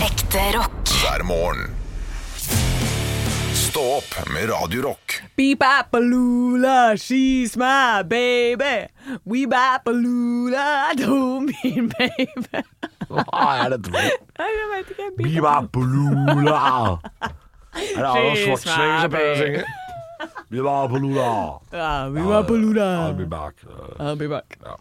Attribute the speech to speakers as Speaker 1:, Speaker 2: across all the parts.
Speaker 1: Ekte rock.
Speaker 2: hver morgen. Stå opp med Radio Rock.
Speaker 3: Beepapalula, she's my baby. Weepapalula, don't be baby.
Speaker 4: Hva er dette for noe?
Speaker 3: Nei, jeg vet ikke. Beep.
Speaker 4: Biba Polula! Er det Arnold
Speaker 3: She's
Speaker 4: Schwarzenegger
Speaker 3: my
Speaker 4: som prøver å synge? Biba Polula!
Speaker 3: Ah, Weepapalula.
Speaker 4: I'll be back. Uh,
Speaker 3: I'll be back.
Speaker 4: Ja.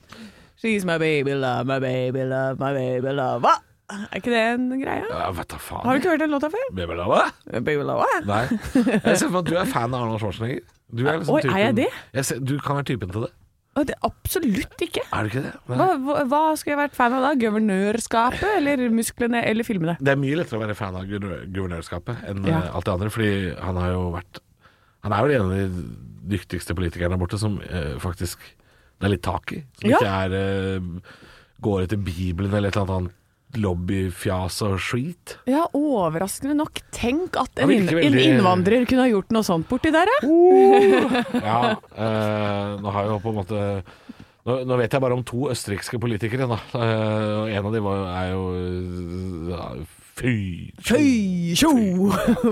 Speaker 3: She's my baby love, my baby love, my baby love. Hva? Er ikke det en greie?
Speaker 4: Jeg vet da faen.
Speaker 3: Har du ikke hørt den låta før?
Speaker 4: Biba Polula?
Speaker 3: Baby love, hva?
Speaker 4: Nei. Jeg ser for meg at du er fan av Arnold Schwarzenegger. Du er liksom
Speaker 3: Oi, er
Speaker 4: typen
Speaker 3: jeg det?
Speaker 4: Jeg ser, du kan være typen til det.
Speaker 3: Å, det- Absolutt ikke.
Speaker 4: Er du ikke det? Nei.
Speaker 3: Hva, hva, hva skulle jeg vært fan av da? Guvernørskapet, eller musklene, eller filmene?
Speaker 4: Det er mye lettere å være fan av guvernør- guvernørskapet enn
Speaker 3: Ja.
Speaker 4: eh, alt det andre, fordi han har jo vært Han er vel en av de dyktigste politikerne der borte som eh, faktisk det er litt tak i. Som
Speaker 3: Ja.
Speaker 4: ikke er eh, går etter Bibelen eller et eller annet annet lobbyfjas og skit.
Speaker 3: Ja, overraskende nok. Tenk at
Speaker 4: Han
Speaker 3: en,
Speaker 4: virker
Speaker 3: inn- en
Speaker 4: veldig- Oh,
Speaker 3: innvandrer kunne ha gjort noe sånt borti der, ja.
Speaker 4: Ja, eh, nå har jeg jo på en måte nå, nå vet jeg bare om to østerrikske politikere, da. Eh, og en av dem var, er jo ja, Fy!
Speaker 3: Føy, tjo,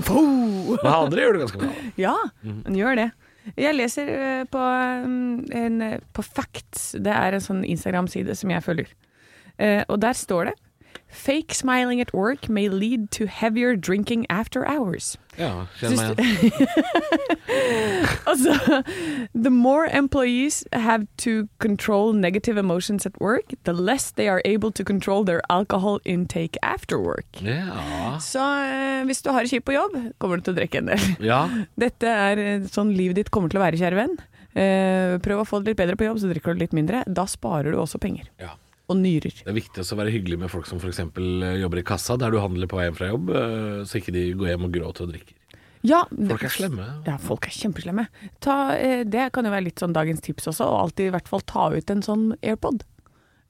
Speaker 3: fo.
Speaker 4: Men han andre gjør det ganske bra. da.
Speaker 3: Ja,
Speaker 4: Mhm.
Speaker 3: han gjør det. Jeg leser eh, på, mm, en, eh, på Facts, det er en sånn Instagram-side som jeg følger. Eh, og der står det Fake smiling at work may lead to heavier drinking after hours.
Speaker 4: Ja, kjenn meg igjen.
Speaker 3: Altså, the more employees have to control negative emotions at work, the less they are able to control their alcohol intake after work.
Speaker 4: Ja.
Speaker 3: Så eh, hvis du har det kjipt på jobb, kommer du til å drikke en del.
Speaker 4: ja.
Speaker 3: Dette er eh, sånn livet ditt kommer til å være, kjære venn. Eh, prøv å få det litt bedre på jobb, så drikker du litt mindre. Da sparer du også penger.
Speaker 4: Ja.
Speaker 3: Og nyrer.
Speaker 4: Det er viktig også å være hyggelig med folk som f.eks. jobber i kassa, der du handler på vei hjem fra jobb, eh, så ikke de går hjem og gråter og drikker.
Speaker 3: Ja,
Speaker 4: Folk er slemme.
Speaker 3: Ja, folk er kjempeslemme. Ta, eh, det kan jo være litt sånn dagens tips også, og alltid i hvert fall ta ut en sånn AirPod.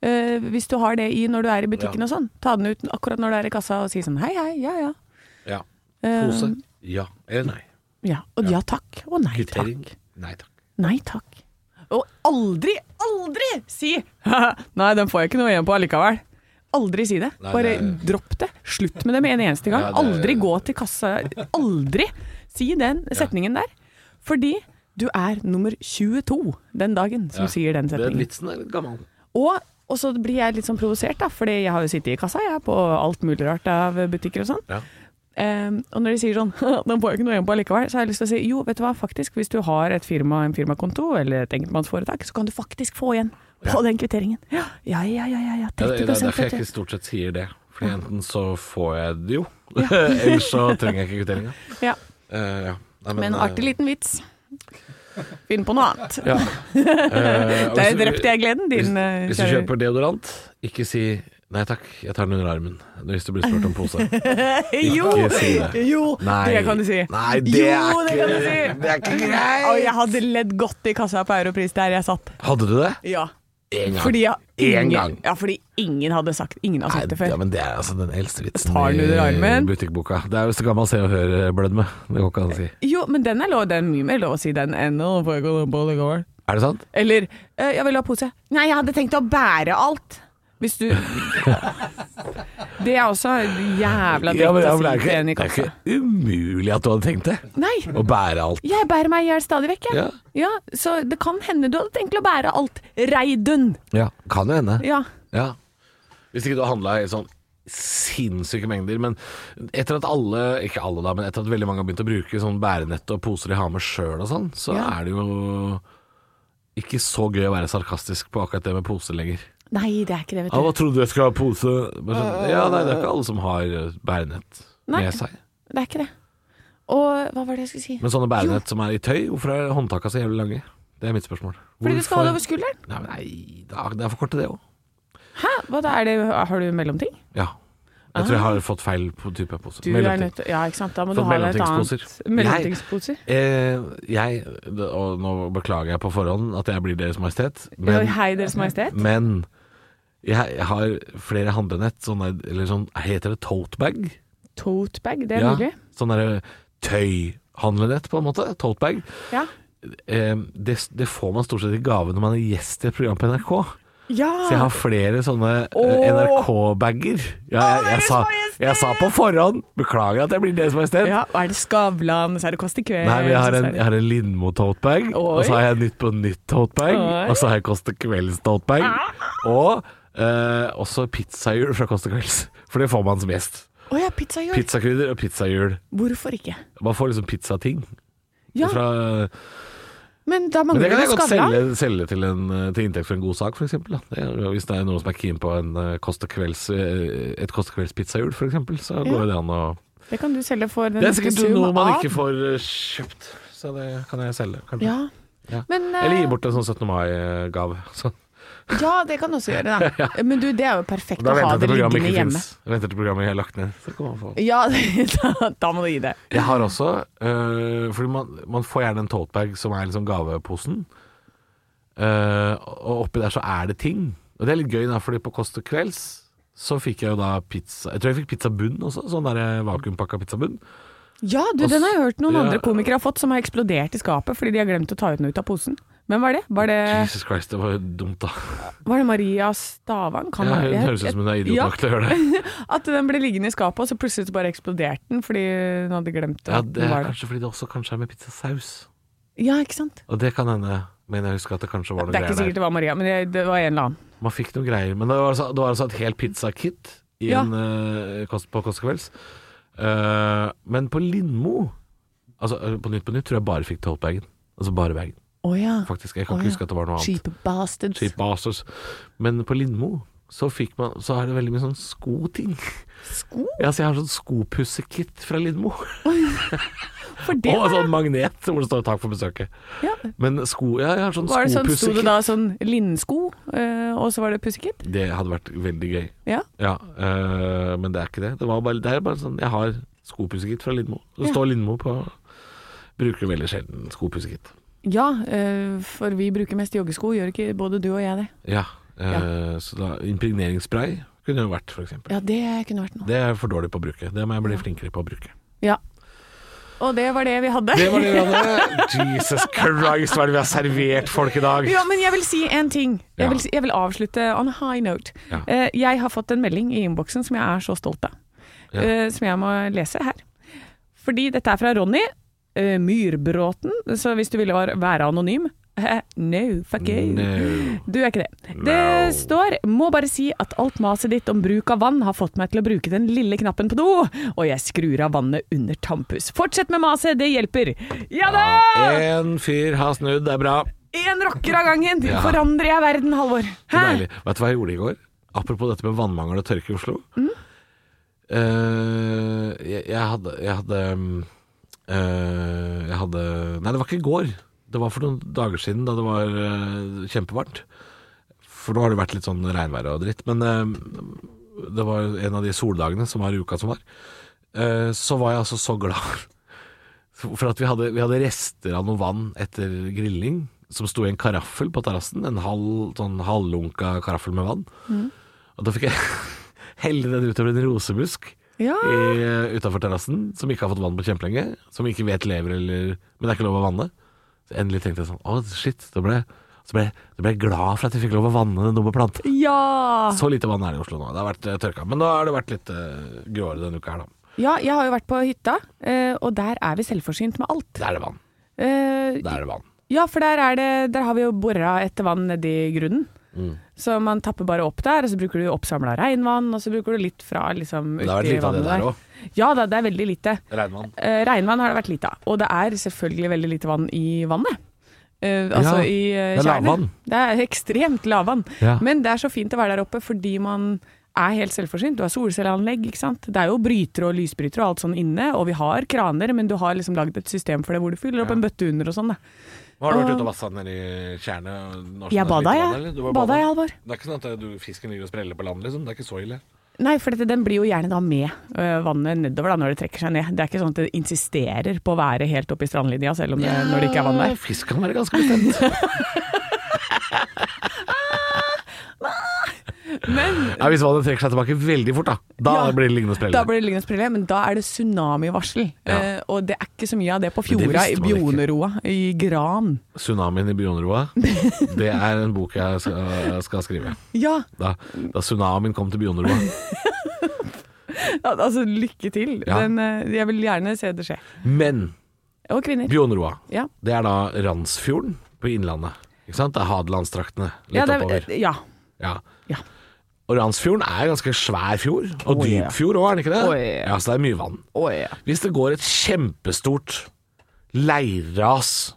Speaker 3: Eh, hvis du har det i når du er i butikken
Speaker 4: Ja.
Speaker 3: og sånn, ta den ut akkurat når du er i kassa og si sånn hei, hei, ja, ja.
Speaker 4: Ja.
Speaker 3: Eh,
Speaker 4: Pose? Ja eller nei?
Speaker 3: ja. Og ja takk, og nei
Speaker 4: Kvittering?
Speaker 3: takk.
Speaker 4: Nei takk.
Speaker 3: Nei takk. Og aldri, aldri si nei, den får jeg ikke noe igjen på allikevel. Aldri si det.
Speaker 4: Nei,
Speaker 3: Bare
Speaker 4: det er-
Speaker 3: dropp det. Slutt med det med en eneste gang.
Speaker 4: Ja, det-
Speaker 3: Aldri gå til kassa. Aldri si den setningen der. Fordi du er nummer 22 den dagen som
Speaker 4: Ja.
Speaker 3: sier den
Speaker 4: Den
Speaker 3: setningen.
Speaker 4: vitsen er litt gammel.
Speaker 3: Og, og så blir jeg litt sånn provosert, da, fordi jeg har jo sittet i kassa jeg, på alt mulig rart av butikker og sånn.
Speaker 4: Ja.
Speaker 3: Em, og når de sier sånn Den får jeg ikke noe igjen på allikevel, så har jeg lyst til å si jo, vet du hva, faktisk, hvis du har et firma, en firmakonto eller et enkeltmannsforetak, så kan du faktisk få igjen på den kvitteringen. Ja, ja, ja, ja. ja, ja
Speaker 4: Ja, det,
Speaker 3: 30
Speaker 4: det er derfor jeg
Speaker 3: vet du.
Speaker 4: ikke stort sett sier det. Fordi enten så får jeg det jo, eller så trenger jeg ikke kvitteringa.
Speaker 3: Ja,
Speaker 4: Eh, ja. Nei,
Speaker 3: men
Speaker 4: eh,
Speaker 3: artig liten vits. Finn på noe annet.
Speaker 4: Ja. Eh, og
Speaker 3: Der
Speaker 4: hvis du-
Speaker 3: drepte jeg gleden din. eh,
Speaker 4: Hvis, hvis du
Speaker 3: kjære-
Speaker 4: kjøper deodorant, ikke si 'nei takk, jeg tar den under armen' hvis du blir spurt om pose.
Speaker 3: Jo,
Speaker 4: Ikke si det.
Speaker 3: jo
Speaker 4: Nei.
Speaker 3: det kan du si.
Speaker 4: Nei, det
Speaker 3: jo,
Speaker 4: er
Speaker 3: det
Speaker 4: ikke-
Speaker 3: kan du si.
Speaker 4: det er ikke greit.
Speaker 3: Og jeg hadde ledd godt i kassa på Europris der jeg satt.
Speaker 4: Hadde du det?
Speaker 3: Ja.
Speaker 4: En gang.
Speaker 3: Fordi, jeg,
Speaker 4: En
Speaker 3: ingen,
Speaker 4: gang.
Speaker 3: Ja, fordi ingen hadde sagt Ingen har sagt det
Speaker 4: Ja,
Speaker 3: før.
Speaker 4: men det er altså den eldste vitsen
Speaker 3: Tar den under
Speaker 4: i
Speaker 3: armen.
Speaker 4: butikkboka. Det er jo så gammel Se og Hør-blødme. Det går ikke an å si.
Speaker 3: Jo, men den er lov. Det er mye mer lov å si den enn å få gå på det går.
Speaker 4: Er det sant?
Speaker 3: Eller eh, 'jeg vil ha pose'. Nei, jeg hadde tenkt å bære alt. Hvis du Det er også jævla dritt å
Speaker 4: Ja, men- ja, men det, er
Speaker 3: si
Speaker 4: ikke,
Speaker 3: til en i
Speaker 4: det er
Speaker 3: kassa.
Speaker 4: ikke umulig at du hadde tenkt det.
Speaker 3: Nei,
Speaker 4: Å bære alt.
Speaker 3: jeg bærer meg i hjel stadig vekk, jeg.
Speaker 4: Ja.
Speaker 3: Ja, så det kan hende du hadde tenkt å bære alt. Reidun.
Speaker 4: Ja, kan jo hende.
Speaker 3: Ja.
Speaker 4: Ja. Hvis ikke du har handla i sånn sinnssyke mengder, men etter at alle, ikke alle da, men etter at veldig mange har begynt å bruke sånn bærenett og poser de har med sjøl og sånn, så
Speaker 3: Ja.
Speaker 4: er det jo ikke så gøy å være sarkastisk på akkurat det med pose lenger.
Speaker 3: Nei, det er ikke det, vet
Speaker 4: Ja,
Speaker 3: du.
Speaker 4: hva trodde du jeg skulle ha pose? Bare sånn, ja, nei, det er ikke alle som har øh, bærenett
Speaker 3: Nei.
Speaker 4: med seg.
Speaker 3: Det er ikke det. Og hva var det jeg skulle si?
Speaker 4: Men sånne bærenett som er i tøy, hvorfor er håndtaka så jævlig lange? Det er mitt spørsmål.
Speaker 3: Fordi du skal ha det over skulderen?
Speaker 4: Nei, men nei, da- det er for kort til det òg.
Speaker 3: Hæ? Hva da er det? Har du mellomting?
Speaker 4: Ja. Jeg tror jeg har fått feil på- type pose.
Speaker 3: Ah. Du er
Speaker 4: Mellomting.
Speaker 3: nødt til Ja, ikke sant. Da må
Speaker 4: For
Speaker 3: du ha deg et
Speaker 4: mellomtingsposer.
Speaker 3: annet Mellomtingsposer.
Speaker 4: Eh, jeg, og nå beklager jeg på forhånd at jeg blir Deres Majestet,
Speaker 3: Jo,
Speaker 4: men,
Speaker 3: Hei, Deres Majestet.
Speaker 4: men jeg har flere handlenett, sånne, eller sånn, heter det toatbag?
Speaker 3: Totebag, det er mulig.
Speaker 4: sånn derre tøyhandlenett, på en måte. Toatbag.
Speaker 3: Ja.
Speaker 4: Eh, det, det får man stort sett i gave når man er gjest i et program på NRK.
Speaker 3: Ja!
Speaker 4: Så jeg har flere sånne
Speaker 3: Ah.
Speaker 4: eh,
Speaker 3: Åh!
Speaker 4: NRK-bager. Ja, jeg, jeg, sa- jeg sa på forhånd Beklager at jeg blir Deres Majestet.
Speaker 3: ja, og er det Skavlan, så er det Kåss til kvelds
Speaker 4: Nei, men jeg har
Speaker 3: og Eh, så
Speaker 4: en,
Speaker 3: er det-
Speaker 4: jeg har en Lindmo toatbag, og så har jeg en Nytt på nytt toatbag,
Speaker 3: Oi. Ah.
Speaker 4: og så har jeg Kåss til kvelds toatbag, og eh, også pizzahjul fra Kåss til kvelds. For det får man som gjest.
Speaker 3: Å ja, pizzahjul.
Speaker 4: Pizzakrydder og pizzahjul.
Speaker 3: Hvorfor ikke?
Speaker 4: Man får liksom pizzating.
Speaker 3: Ja,
Speaker 4: Fra,
Speaker 3: men da
Speaker 4: men
Speaker 3: mangler
Speaker 4: det kan jeg
Speaker 3: du
Speaker 4: godt
Speaker 3: Skavlan.
Speaker 4: selge, selge til, en, eh, til inntekt for en god sak, f.eks. Hvis det er noen som er keen på en, eh, Kåss til kvelds, eh, et Kåss til kvelds pizzahjul, f.eks., så
Speaker 3: Ja.
Speaker 4: går det an å
Speaker 3: Det kan du selge for den
Speaker 4: Det er sikkert
Speaker 3: sum
Speaker 4: noe man
Speaker 3: av-
Speaker 4: ikke får eh, kjøpt, så det kan jeg selge, kanskje.
Speaker 3: Ja.
Speaker 4: Ja.
Speaker 3: Men, eh,
Speaker 4: Eller gi bort en sånn 17. mai-gave. Så-
Speaker 3: Ja, det kan du også gjøre, da. Men du, det er jo perfekt
Speaker 4: Da
Speaker 3: å ha det
Speaker 4: venter til programmet
Speaker 3: liggende
Speaker 4: ikke
Speaker 3: hjemme.
Speaker 4: finnes. Jeg venter til programmet er lagt ned. Så kan man få.
Speaker 3: Ja, da, da må du gi det.
Speaker 4: Jeg har også øh, Fordi man, man får gjerne en toatbag som er liksom gaveposen, øh, og oppi der så er det ting. Og det er litt gøy, da, fordi på Kåss til kvelds så fikk jeg jo da pizza Jeg tror jeg fikk pizzabunn også, sånn der vakuumpakka pizzabunn.
Speaker 3: Ja, du,
Speaker 4: Og s-
Speaker 3: den har jeg hørt noen
Speaker 4: ja.
Speaker 3: andre komikere har fått, som har eksplodert i skapet fordi de har glemt å ta ut noe ut av posen. Men hva er det? Var det,
Speaker 4: Jesus Christ, det var jo dumt, da.
Speaker 3: var det Maria Stavang? Kan
Speaker 4: Ja,
Speaker 3: være-
Speaker 4: hun høres ut som hun er idiot
Speaker 3: Ja.
Speaker 4: nok til å gjøre det.
Speaker 3: At den ble liggende i skapet, og så plutselig så bare eksploderte den fordi hun hadde glemt
Speaker 4: Ja,
Speaker 3: at
Speaker 4: det
Speaker 3: den
Speaker 4: er
Speaker 3: var der.
Speaker 4: kanskje fordi det også kanskje er med pizzasaus.
Speaker 3: Ja, ikke sant?
Speaker 4: Og det kan hende, men jeg husker at det kanskje var noe
Speaker 3: Det er
Speaker 4: greier
Speaker 3: ikke
Speaker 4: der.
Speaker 3: sikkert det var Maria, men det, det var en eller annen.
Speaker 4: Man fikk noen greier, men det var altså, det var altså et helt pizzakit i
Speaker 3: Ja.
Speaker 4: en, eh, kost, på Kåss til kvelds. Eh, men på Lindmo, altså eh, på Nytt på Nytt, tror jeg bare fikk tollbagen. Altså bare bagen,
Speaker 3: Å ja.
Speaker 4: faktisk. Jeg kan
Speaker 3: Å,
Speaker 4: ikke
Speaker 3: ja.
Speaker 4: huske at det var noe annet.
Speaker 3: Cheap bastards.
Speaker 4: Cheap bastards. Men på Lindmo så, fikk man, så er det veldig mye sånn skoting.
Speaker 3: Sko?
Speaker 4: Ja, så jeg har sånn skopussekit fra Lindmo.
Speaker 3: For det
Speaker 4: Og
Speaker 3: var
Speaker 4: sånn magnet hvor det står 'takk for besøket'.
Speaker 3: ja.
Speaker 4: Men sko Ja, jeg har sånn
Speaker 3: Var det sånn, Sto det
Speaker 4: skopussekit.
Speaker 3: da sånn linnsko, eh, og så var det pussekit?
Speaker 4: Det hadde vært veldig gøy.
Speaker 3: Ja.
Speaker 4: Ja, øh, men det er ikke det. Det, var bare, det er bare sånn Jeg har skopussekit fra Lindmo. Det
Speaker 3: Ja.
Speaker 4: står Lindmo på Bruker veldig sjelden skopussekit.
Speaker 3: Ja, eh, for vi bruker mest joggesko, gjør ikke både du og jeg det?
Speaker 4: Ja, øh, Så da impregneringsspray kunne jo vært, f.eks.
Speaker 3: Ja, det kunne vært noe.
Speaker 4: Det er jeg for dårlig på å bruke. Det må jeg bli flinkere på å bruke.
Speaker 3: Ja. Og det var det vi hadde.
Speaker 4: Det var det vi hadde. Jesus Christ, hva er det vi har servert folk i dag?
Speaker 3: Ja, men jeg vil si en ting.
Speaker 4: Ja.
Speaker 3: Jeg vil, jeg vil avslutte on a high note.
Speaker 4: Ja.
Speaker 3: Eh, jeg har fått en melding i innboksen som jeg er så stolt av,
Speaker 4: Ja.
Speaker 3: eh, som jeg må lese her. Fordi dette er fra Ronny eh, Myrbråten, så hvis du ville var- være anonym eh, No, fuck you.
Speaker 4: No.
Speaker 3: Du er ikke det.
Speaker 4: No.
Speaker 3: Det står 'må bare si at alt maset ditt om bruk av vann har fått meg til å bruke den lille knappen på do', og jeg skrur av vannet under tampus. Fortsett med maset, det hjelper. Ja da!
Speaker 4: En fyr har snudd, det er bra.
Speaker 3: Én rocker av gangen
Speaker 4: Ja.
Speaker 3: forandrer jeg verden, Halvor.
Speaker 4: Så deilig. Vet du hva jeg gjorde i går? Apropos dette med vannmangel og tørke i Oslo. Eh, jeg, jeg hadde Jeg hadde, mm, eh, jeg hadde Nei, det var ikke i går. Det var for noen dager siden, da det var eh, kjempevarmt. For nå har det vært litt sånn regnvær og dritt. Men eh, det var en av de soldagene som var i uka som var. Eh, så var jeg altså så glad for at vi hadde, vi hadde rester av noe vann etter grilling som sto i en karaffel på terrassen. En halv, sånn halvlunka karaffel med vann. Og da fikk jeg helle den utover en rosebusk
Speaker 3: Ja.
Speaker 4: utafor terrassen, som ikke har fått vann på kjempelenge. Som ikke vet lever eller Men det er ikke lov å vanne. Så endelig tenkte jeg sånn Å, shit. Da ble, så ble, da ble jeg glad for at jeg fikk lov å vanne den dumme planten.
Speaker 3: Ja.
Speaker 4: Så lite vann er det i Oslo nå. Det har vært eh, tørka. Men nå har det vært litt uh, gråere denne uka her, da.
Speaker 3: ja, jeg har jo vært på hytta, eh, og der er vi selvforsynt med alt.
Speaker 4: Der er det vann.
Speaker 3: Eh,
Speaker 4: Der er det vann.
Speaker 3: Ja, for der, er det, der har vi jo bora etter vann nedi grunnen.
Speaker 4: Mm.
Speaker 3: Så man tapper bare opp der, og så bruker du oppsamla regnvann, og så bruker du litt fra liksom,
Speaker 4: Det har vært
Speaker 3: uti
Speaker 4: lite av det
Speaker 3: vannet
Speaker 4: der også.
Speaker 3: Ja da, det er veldig lite.
Speaker 4: Regnvann.
Speaker 3: Eh, regnvann har det vært lite av. Og det er selvfølgelig veldig lite vann i vannet. Eh, altså
Speaker 4: Ja,
Speaker 3: i eh,
Speaker 4: det er
Speaker 3: tjernet.
Speaker 4: lavvann.
Speaker 3: Det er ekstremt lavvann.
Speaker 4: Ja.
Speaker 3: Men det er så fint å være der oppe fordi man er helt selvforsynt. Du har solcelleanlegg, ikke sant. Det er jo brytere og lysbrytere og alt sånn inne, og vi har kraner, men du har liksom lagd et system for det hvor du fyller opp en bøtte under og sånn. da.
Speaker 4: Nå har du vært ute og vassa nedi tjernet? når som det er
Speaker 3: Eh, Jeg bada,
Speaker 4: lite vann,
Speaker 3: jeg.
Speaker 4: eller? Du var
Speaker 3: Bada, jeg, Halvor.
Speaker 4: Det er ikke sånn at du, fisken ligger og spreller på land, liksom? Det er ikke så ille?
Speaker 3: Nei, for dette, den blir jo gjerne da med øh, vannet nedover da, når det trekker seg ned. Det er ikke sånn at det insisterer på å være helt oppe i strandlinja, selv om det, når det ikke er vann der.
Speaker 4: Fisk kan være ganske bestemt.
Speaker 3: Men
Speaker 4: Ja, hvis vannet trekker seg tilbake veldig fort, da. Da
Speaker 3: Ja.
Speaker 4: blir det liggende og sprelle.
Speaker 3: Da blir det liggende sprelle, men da er det tsunamivarsel.
Speaker 4: Ja.
Speaker 3: Eh, og det er ikke så mye av det på
Speaker 4: Men
Speaker 3: Fjorda,
Speaker 4: det
Speaker 3: i
Speaker 4: visste man ikke.
Speaker 3: Bjoneroa, i Gran.
Speaker 4: Tsunamien i Bionroa. Det er en bok jeg skal, jeg skal skrive.
Speaker 3: Ja,
Speaker 4: Da, da tsunamien kom til Bionroa.
Speaker 3: al- altså lykke til.
Speaker 4: Ja.
Speaker 3: Den, eh, jeg vil gjerne se det skje.
Speaker 4: Men
Speaker 3: Og kvinner.
Speaker 4: Bionroa,
Speaker 3: Ja.
Speaker 4: det er da Randsfjorden på Innlandet. Ikke sant? Det er Hadelandstraktene litt
Speaker 3: Ja, det er,
Speaker 4: oppover.
Speaker 3: ja.
Speaker 4: Ja.
Speaker 3: ja.
Speaker 4: Og Randsfjorden er en ganske svær fjord, og
Speaker 3: Å, ja.
Speaker 4: dyp fjord òg, er den ikke det?
Speaker 3: Å, ja.
Speaker 4: ja, så det er mye vann.
Speaker 3: Å, ja.
Speaker 4: Hvis det går et kjempestort leirras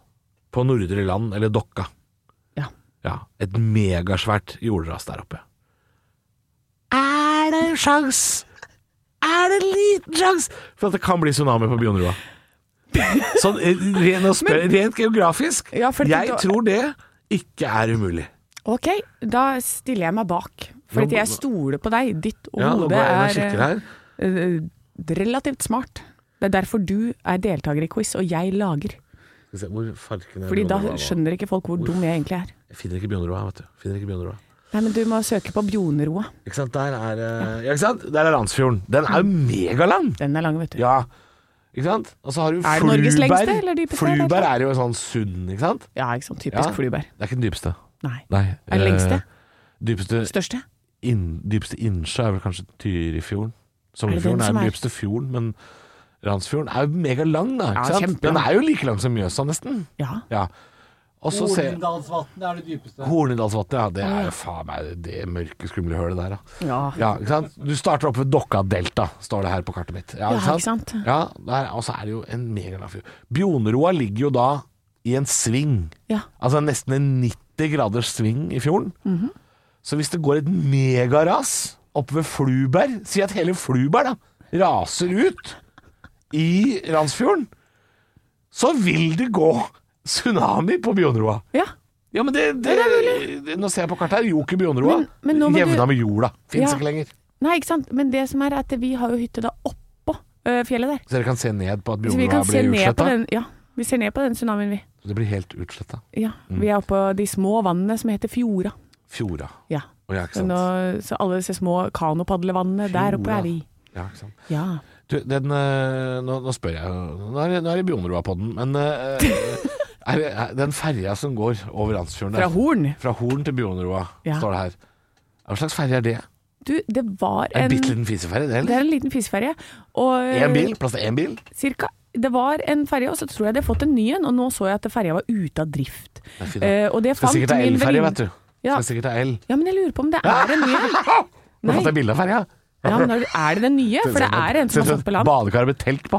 Speaker 4: på Nordre Land, eller Dokka
Speaker 3: Ja.
Speaker 4: ja, Et megasvært jordras der oppe. Er det en sjanse? Er det en liten sjanse for at det kan bli tsunami på Bionroa? Sånn eh, ren og spør, rent geografisk.
Speaker 3: Ja, for
Speaker 4: jeg
Speaker 3: da-
Speaker 4: tror det ikke er umulig.
Speaker 3: Ok, da stiller jeg meg bak.
Speaker 4: Nå-
Speaker 3: Fordi jeg stoler på deg. Ditt
Speaker 4: Ja, nå
Speaker 3: hode
Speaker 4: ble jeg inn og
Speaker 3: er
Speaker 4: kikker
Speaker 3: eh,
Speaker 4: her.
Speaker 3: eh, relativt smart. Det er derfor du er deltaker i quiz, og jeg lager.
Speaker 4: Skal vi se, hvor farken er
Speaker 3: Fordi da
Speaker 4: Bionroa nå?
Speaker 3: skjønner ikke folk hvor dum jeg egentlig er.
Speaker 4: Jeg finner ikke Bionroa, vet du. Finner ikke Bionroa.
Speaker 3: Nei, men du må søke på Bjoneroa.
Speaker 4: Ikke sant? Der er, eh, ja, ikke sant? Der er Randsfjorden. Den er jo megalang!
Speaker 3: Den er lang, vet du.
Speaker 4: Ja. Ikke sant? Og så har du
Speaker 3: Er det Norges lengste, eller dypeste?
Speaker 4: Fluberg er jo en sånn sund, ikke sant?
Speaker 3: Ja, ikke sant. Typisk
Speaker 4: Ja.
Speaker 3: flybær.
Speaker 4: Det er ikke den dypeste.
Speaker 3: Nei.
Speaker 4: Nei.
Speaker 3: Er det
Speaker 4: eh,
Speaker 3: lengste?
Speaker 4: Dypeste,
Speaker 3: Største?
Speaker 4: inn, dypeste innsjø er vel kanskje Tyrifjorden.
Speaker 3: den
Speaker 4: Sognefjorden er
Speaker 3: som
Speaker 4: den
Speaker 3: er-
Speaker 4: dypeste fjorden, men Randsfjorden er jo megalang, da.
Speaker 3: Ja,
Speaker 4: Ikke sant?
Speaker 3: kjempelang.
Speaker 4: Den er jo like lang som Mjøsa, Sånn nesten.
Speaker 3: Ja.
Speaker 4: Ja. Og så ser
Speaker 1: Hornindalsvatn er det dypeste.
Speaker 4: Hornindalsvatnet, ja. Det er jo faen meg det mørke, skumle hølet der, da.
Speaker 3: Ja.
Speaker 4: Ja, ikke sant? Du starter opp ved Dokka-delta, står det her på kartet mitt.
Speaker 3: Ja, ikke sant?
Speaker 4: Ja, der, og så er det jo en megalang fjord. Bjoneroa ligger jo da i en sving.
Speaker 3: Ja.
Speaker 4: Altså nesten en 90 graders sving i fjorden.
Speaker 3: Mhm.
Speaker 4: Så hvis det går et megaras oppe ved Fluberg, si at hele Fluberg da, raser ut i Randsfjorden, så vil det gå tsunami på Bjoneroa.
Speaker 3: ja.
Speaker 4: Ja, men det, det, Nå ser jeg på kartet her. Joker Bjoneroa.
Speaker 3: Men- men nå må du-
Speaker 4: Jevna med jorda. Fins
Speaker 3: Ja.
Speaker 4: ikke lenger.
Speaker 3: Nei, ikke sant. Men det som er at vi har jo hytte da oppå ø, fjellet der.
Speaker 4: Så dere kan se ned på at
Speaker 3: Så vi kan
Speaker 4: Bjoneroa
Speaker 3: se
Speaker 4: blir
Speaker 3: ned på
Speaker 4: utsletta?
Speaker 3: den Ja, vi ser ned på den tsunamien, vi.
Speaker 4: Det blir helt utsletta.
Speaker 3: Ja.
Speaker 4: Mm.
Speaker 3: Vi er oppå de små vannene som heter fjorda.
Speaker 4: Fjorda.
Speaker 3: Ja.
Speaker 4: Å, ja, ikke
Speaker 3: Så,
Speaker 4: sant.
Speaker 3: nå, så alle disse små kanopadlevannene, der oppe er vi.
Speaker 4: Ja, ikke sant.
Speaker 3: Ja.
Speaker 4: Du, den eh, Nå, nå spør jeg jo- Nå er det- nå er det Bjoneroa-podden, men eh, er, det- er den ferja som går over Randsfjorden
Speaker 3: Fra
Speaker 4: der,
Speaker 3: Horn.
Speaker 4: fra Horn til Bjoneroa,
Speaker 3: Ja.
Speaker 4: står det her. Hva slags ferje er det?
Speaker 3: Du, det var
Speaker 4: En
Speaker 3: en
Speaker 4: bitte liten fiseferje, det?
Speaker 3: Det
Speaker 4: eller?
Speaker 3: er en liten fiskeferje. Og eh,
Speaker 4: Én bil? Plass til én bil?
Speaker 3: Cirka. Det var en ferje, og så tror jeg de har fått en ny en. Og nå så jeg at ferja var ute av drift.
Speaker 4: Det er fint, da.
Speaker 3: Eh, og det
Speaker 4: Skal
Speaker 3: fant
Speaker 4: sikkert ha
Speaker 3: min
Speaker 4: elferje,
Speaker 3: venninne-
Speaker 4: vet du.
Speaker 3: Ja.
Speaker 4: Skal sikkert ha el.
Speaker 3: Ja, men jeg lurer på om det er en ny en.
Speaker 4: Har du
Speaker 3: Nei.
Speaker 4: fått deg bilde av ferja?
Speaker 3: Ja, men er er det den nye? For det er en som har satt på land.
Speaker 4: Badekar med telt på.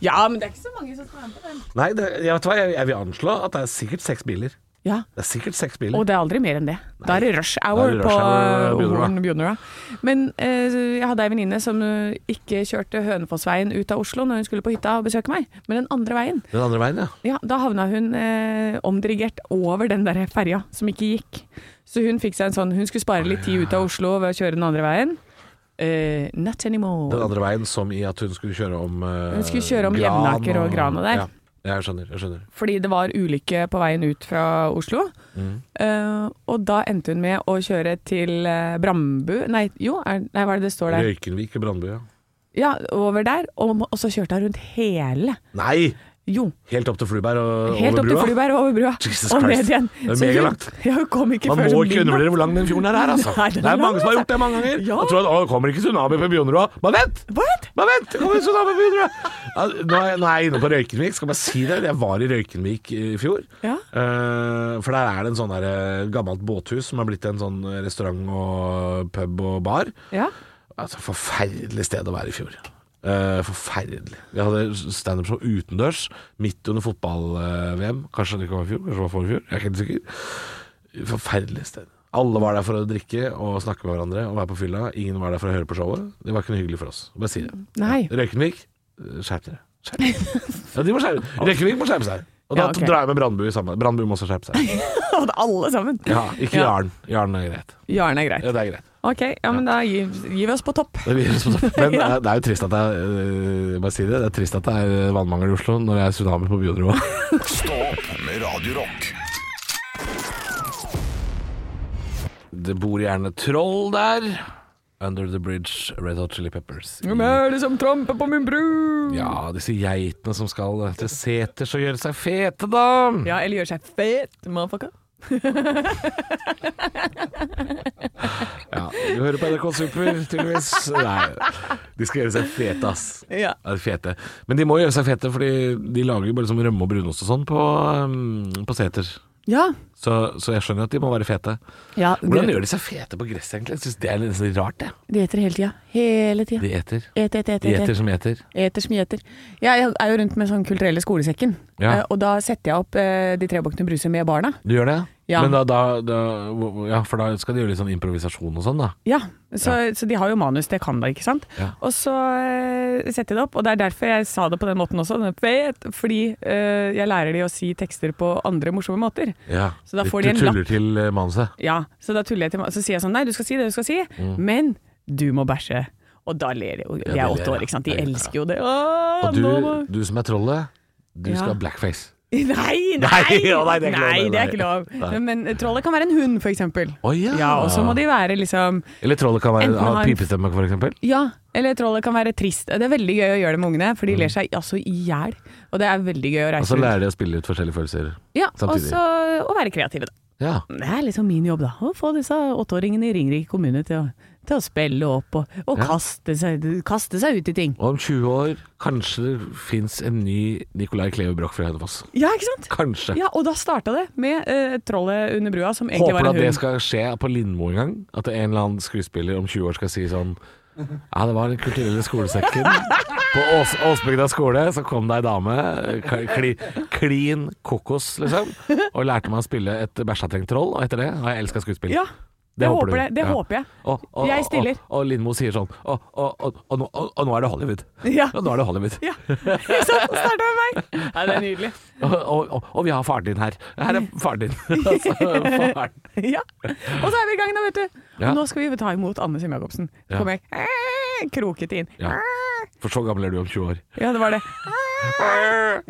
Speaker 3: Ja, men det er ikke så mange som skal være med på den.
Speaker 4: Nei, det, jeg, vet hva, jeg, jeg vil anslå at det er sikkert seks biler.
Speaker 3: Ja,
Speaker 4: Det er sikkert seks biler.
Speaker 3: og det er aldri mer enn det. Da er det rush hour
Speaker 4: Da er det rush
Speaker 3: på eh,
Speaker 4: hour, Bjørnøya.
Speaker 3: Horn Bjørnøya. Men eh, jeg hadde ei venninne som eh, ikke kjørte Hønefossveien ut av Oslo når hun skulle på hytta og besøke meg, men den andre veien.
Speaker 4: Den andre veien, ja.
Speaker 3: Ja, da havna hun eh, omdirigert over den der ferja som ikke gikk. Så hun fikk seg en sånn Hun skulle spare litt tid ut av Oslo ved å kjøre den andre veien. Eh, not
Speaker 4: Den
Speaker 3: anymore.
Speaker 4: andre veien som i at hun skulle kjøre om eh,
Speaker 3: Hun skulle kjøre om
Speaker 4: Gran
Speaker 3: Jevnaker og Gran og der.
Speaker 4: Ja, jeg skjønner. jeg skjønner
Speaker 3: Fordi det var ulykke på veien ut fra Oslo.
Speaker 4: Mm.
Speaker 3: Eh, og da endte hun med å kjøre til eh, Brambu Nei, jo, er, nei, hva er det det står der?
Speaker 4: Røykenvik og Brandbu, ja.
Speaker 3: Ja, over der. Og, og så kjørte hun rundt hele.
Speaker 4: Nei!
Speaker 3: Jo.
Speaker 4: Helt opp til Fluberg og
Speaker 3: Helt
Speaker 4: over
Speaker 3: opp til
Speaker 4: brua.
Speaker 3: Fluberg og over brua.
Speaker 4: Jesus
Speaker 3: og ned
Speaker 4: Christ.
Speaker 3: igjen.
Speaker 4: Det
Speaker 3: Så
Speaker 4: er
Speaker 3: hun-
Speaker 4: megalangt.
Speaker 3: Ja, hun kom ikke
Speaker 4: Man
Speaker 3: før
Speaker 4: må
Speaker 3: som
Speaker 4: ikke
Speaker 3: midnatt.
Speaker 4: undervurdere hvor lang den fjorden her er, altså.
Speaker 3: Nei, den er
Speaker 4: det er
Speaker 3: lang,
Speaker 4: mange som har
Speaker 3: altså.
Speaker 4: gjort det mange ganger.
Speaker 3: Ja.
Speaker 4: Og tror at å, det kommer ikke tsunami på Bjørnroa. Bare vent!
Speaker 3: What?
Speaker 4: Bare vent, det kommer tsunami på Bjørnroa! Ja, nå, er jeg- nå er jeg inne på Røykenvik. Skal bare si det, jeg var i Røykenvik i fjor.
Speaker 3: Ja.
Speaker 4: Eh, for der er det en sånn der, eh, gammelt båthus som har blitt en sånn restaurant og pub og bar.
Speaker 3: Ja.
Speaker 4: Altså, forferdelig sted å være i fjor. Eh, forferdelig. Vi hadde standup-show utendørs midt under fotball-VM. Kanskje det ikke var i fjor, kanskje det var forrige fjor. Jeg er ikke helt sikker. Forferdelig sted. Alle var der for å drikke og snakke med hverandre og være på fylla. Ingen var der for å høre på showet. Det var ikke noe hyggelig for oss. Bare si det.
Speaker 3: Nei.
Speaker 4: Røykenvik, eh, skjerp dere. Skjerp dere. Ja, de må skjerpe. Røykenvik må skjerpe seg. Og da
Speaker 3: Ja, ok.
Speaker 4: drar jeg med Brandbu i samme. Brandbu må også skjerpe seg.
Speaker 3: Og det er alle sammen.
Speaker 4: Ja, ikke
Speaker 3: Ja.
Speaker 4: Jarn. Jarn er greit.
Speaker 3: Jaren er greit.
Speaker 4: Ja, det er greit.
Speaker 3: Ok, ja, men da gir, gir vi oss på topp.
Speaker 4: Det er virus på topp. Men
Speaker 3: Ja.
Speaker 4: eh, det er jo trist at det er eh, Bare si det, det er trist at det er eh, vannmangel i Oslo når det er tsunami på Bionroa.
Speaker 2: Stå opp med Radio Rock.
Speaker 4: Det bor gjerne troll der. Under the bridge, Red Hot Chili Peppers. i-
Speaker 3: Hvem er det som tramper på min bru?
Speaker 4: Ja, disse geitene som skal til seters og gjøre seg fete, da.
Speaker 3: Ja, eller gjør seg fet, motherfucker.
Speaker 4: Ja, du hører på NRK Super, tydeligvis. Nei, de skal gjøre seg fete, ass.
Speaker 3: Ja.
Speaker 4: Ja, de fete. Men de må gjøre seg fete, fordi de lager jo bare sånn rømme og brunost og sånn på, um, på seter.
Speaker 3: Ja.
Speaker 4: Så, så jeg skjønner at de må være fete.
Speaker 3: ja
Speaker 4: Hvordan gjør de seg fete på gresset, egentlig? Jeg syns det er litt sånn rart, det.
Speaker 3: De eter hele tida. Hele tida.
Speaker 4: De eter.
Speaker 3: Et, et, et,
Speaker 4: De
Speaker 3: et,
Speaker 4: eter
Speaker 3: et.
Speaker 4: som eter.
Speaker 3: Eter som gjeter. Jeg er jo rundt med sånn kulturelle skolesekken,
Speaker 4: Ja.
Speaker 3: Eh, og da setter jeg opp eh, De tre bakkene bruse med barna.
Speaker 4: Du gjør det?
Speaker 3: Ja.
Speaker 4: Men da, da, da Ja, for da skal de gjøre litt sånn improvisasjon og sånn, da.
Speaker 3: Ja, så, så de har jo manus, det kan da, ikke sant?
Speaker 4: Ja.
Speaker 3: Og så eh, setter jeg det opp, og det er derfor jeg sa det på den måten også, den fet, fordi eh, jeg lærer de å si tekster på andre morsomme måter.
Speaker 4: Ja.
Speaker 3: Så da
Speaker 4: Du-
Speaker 3: får de en
Speaker 4: Du tuller til eh, manuset.
Speaker 3: Ja, så da tuller jeg til meg, så sier jeg sånn, nei, du skal si det du skal si, men du må bæsje. Og da ler de jo, de
Speaker 4: Mm. Ja,
Speaker 3: er
Speaker 4: de
Speaker 3: åtte
Speaker 4: ler,
Speaker 3: år, ikke sant? De
Speaker 4: ja. Ja, ja.
Speaker 3: elsker jo det. Åh,
Speaker 4: Og du,
Speaker 3: nå må-
Speaker 4: du som er trollet, du
Speaker 3: Ja.
Speaker 4: skal ha blackface.
Speaker 3: Nei, nei!
Speaker 4: Nei, ja, nei, det er ikke lov,
Speaker 3: Nei, det er
Speaker 4: nei.
Speaker 3: ikke lov.
Speaker 4: Nei.
Speaker 3: Men eh, trollet kan være en hund, for eksempel.
Speaker 4: Å ja.
Speaker 3: Ja, og så må de være liksom
Speaker 4: Eller trollet kan være,
Speaker 3: Enten
Speaker 4: ha
Speaker 3: har-
Speaker 4: pipestemme, for eksempel.
Speaker 3: Ja, eller trollet kan være trist. Det er veldig gøy å gjøre det med ungene, for de ler seg altså i hjel. Og det er veldig gøy å
Speaker 4: Mm. Og
Speaker 3: reise
Speaker 4: så
Speaker 3: rundt.
Speaker 4: lærer de å spille ut forskjellige følelser.
Speaker 3: Ja, og
Speaker 4: samtidig.
Speaker 3: så å være kreative, da.
Speaker 4: Ja.
Speaker 3: Det er liksom min jobb, da. Å få disse åtteåringene i Ringerike kommune til å, til å spille opp og, og
Speaker 4: Ja.
Speaker 3: kaste, seg, kaste seg ut i ting.
Speaker 4: Og om 20 år kanskje det fins en ny Nicolai Kleve Broch fra Hønefoss.
Speaker 3: Ja, ikke sant?
Speaker 4: Kanskje.
Speaker 3: Ja, og da starta det med eh, trollet under brua, som egentlig
Speaker 4: Håper
Speaker 3: var
Speaker 4: du
Speaker 3: en
Speaker 4: at det
Speaker 3: hund.
Speaker 4: skal skje på Lindmo en gang? At en eller annen skuespiller om 20 år skal si sånn Ja, det var den kulturelle skolesekken. På Ås Åsbygda skole så kom det ei dame, k- kli klin kokos, liksom, og lærte meg å spille et bæsjatrengt troll, og etter det har jeg elska skuespill.
Speaker 3: Ja, det,
Speaker 4: håper
Speaker 3: håper,
Speaker 4: du.
Speaker 3: det, det
Speaker 4: Ja.
Speaker 3: håper jeg.
Speaker 4: Og,
Speaker 3: Jeg stiller.
Speaker 4: Og, og Lindmo sier sånn og, og, og, og, nå- og, og nå er det Hollywood.
Speaker 3: Ja.
Speaker 4: Og nå er det Hollywood.
Speaker 3: Ja, ikke sant? Starta med meg. Nei, det er nydelig.
Speaker 4: Og, og, og, og vi har faren din her. Her er faren din. altså, faren.
Speaker 3: Ja. Og så er vi i gang, da, vet du. Og
Speaker 4: Ja.
Speaker 3: nå skal vi ta imot Anne Sem Jacobsen. Så
Speaker 4: Ja.
Speaker 3: kommer jeg eh, krokete inn.
Speaker 4: Ja. For så gammel er du om 20 år.
Speaker 3: Ja, det var det.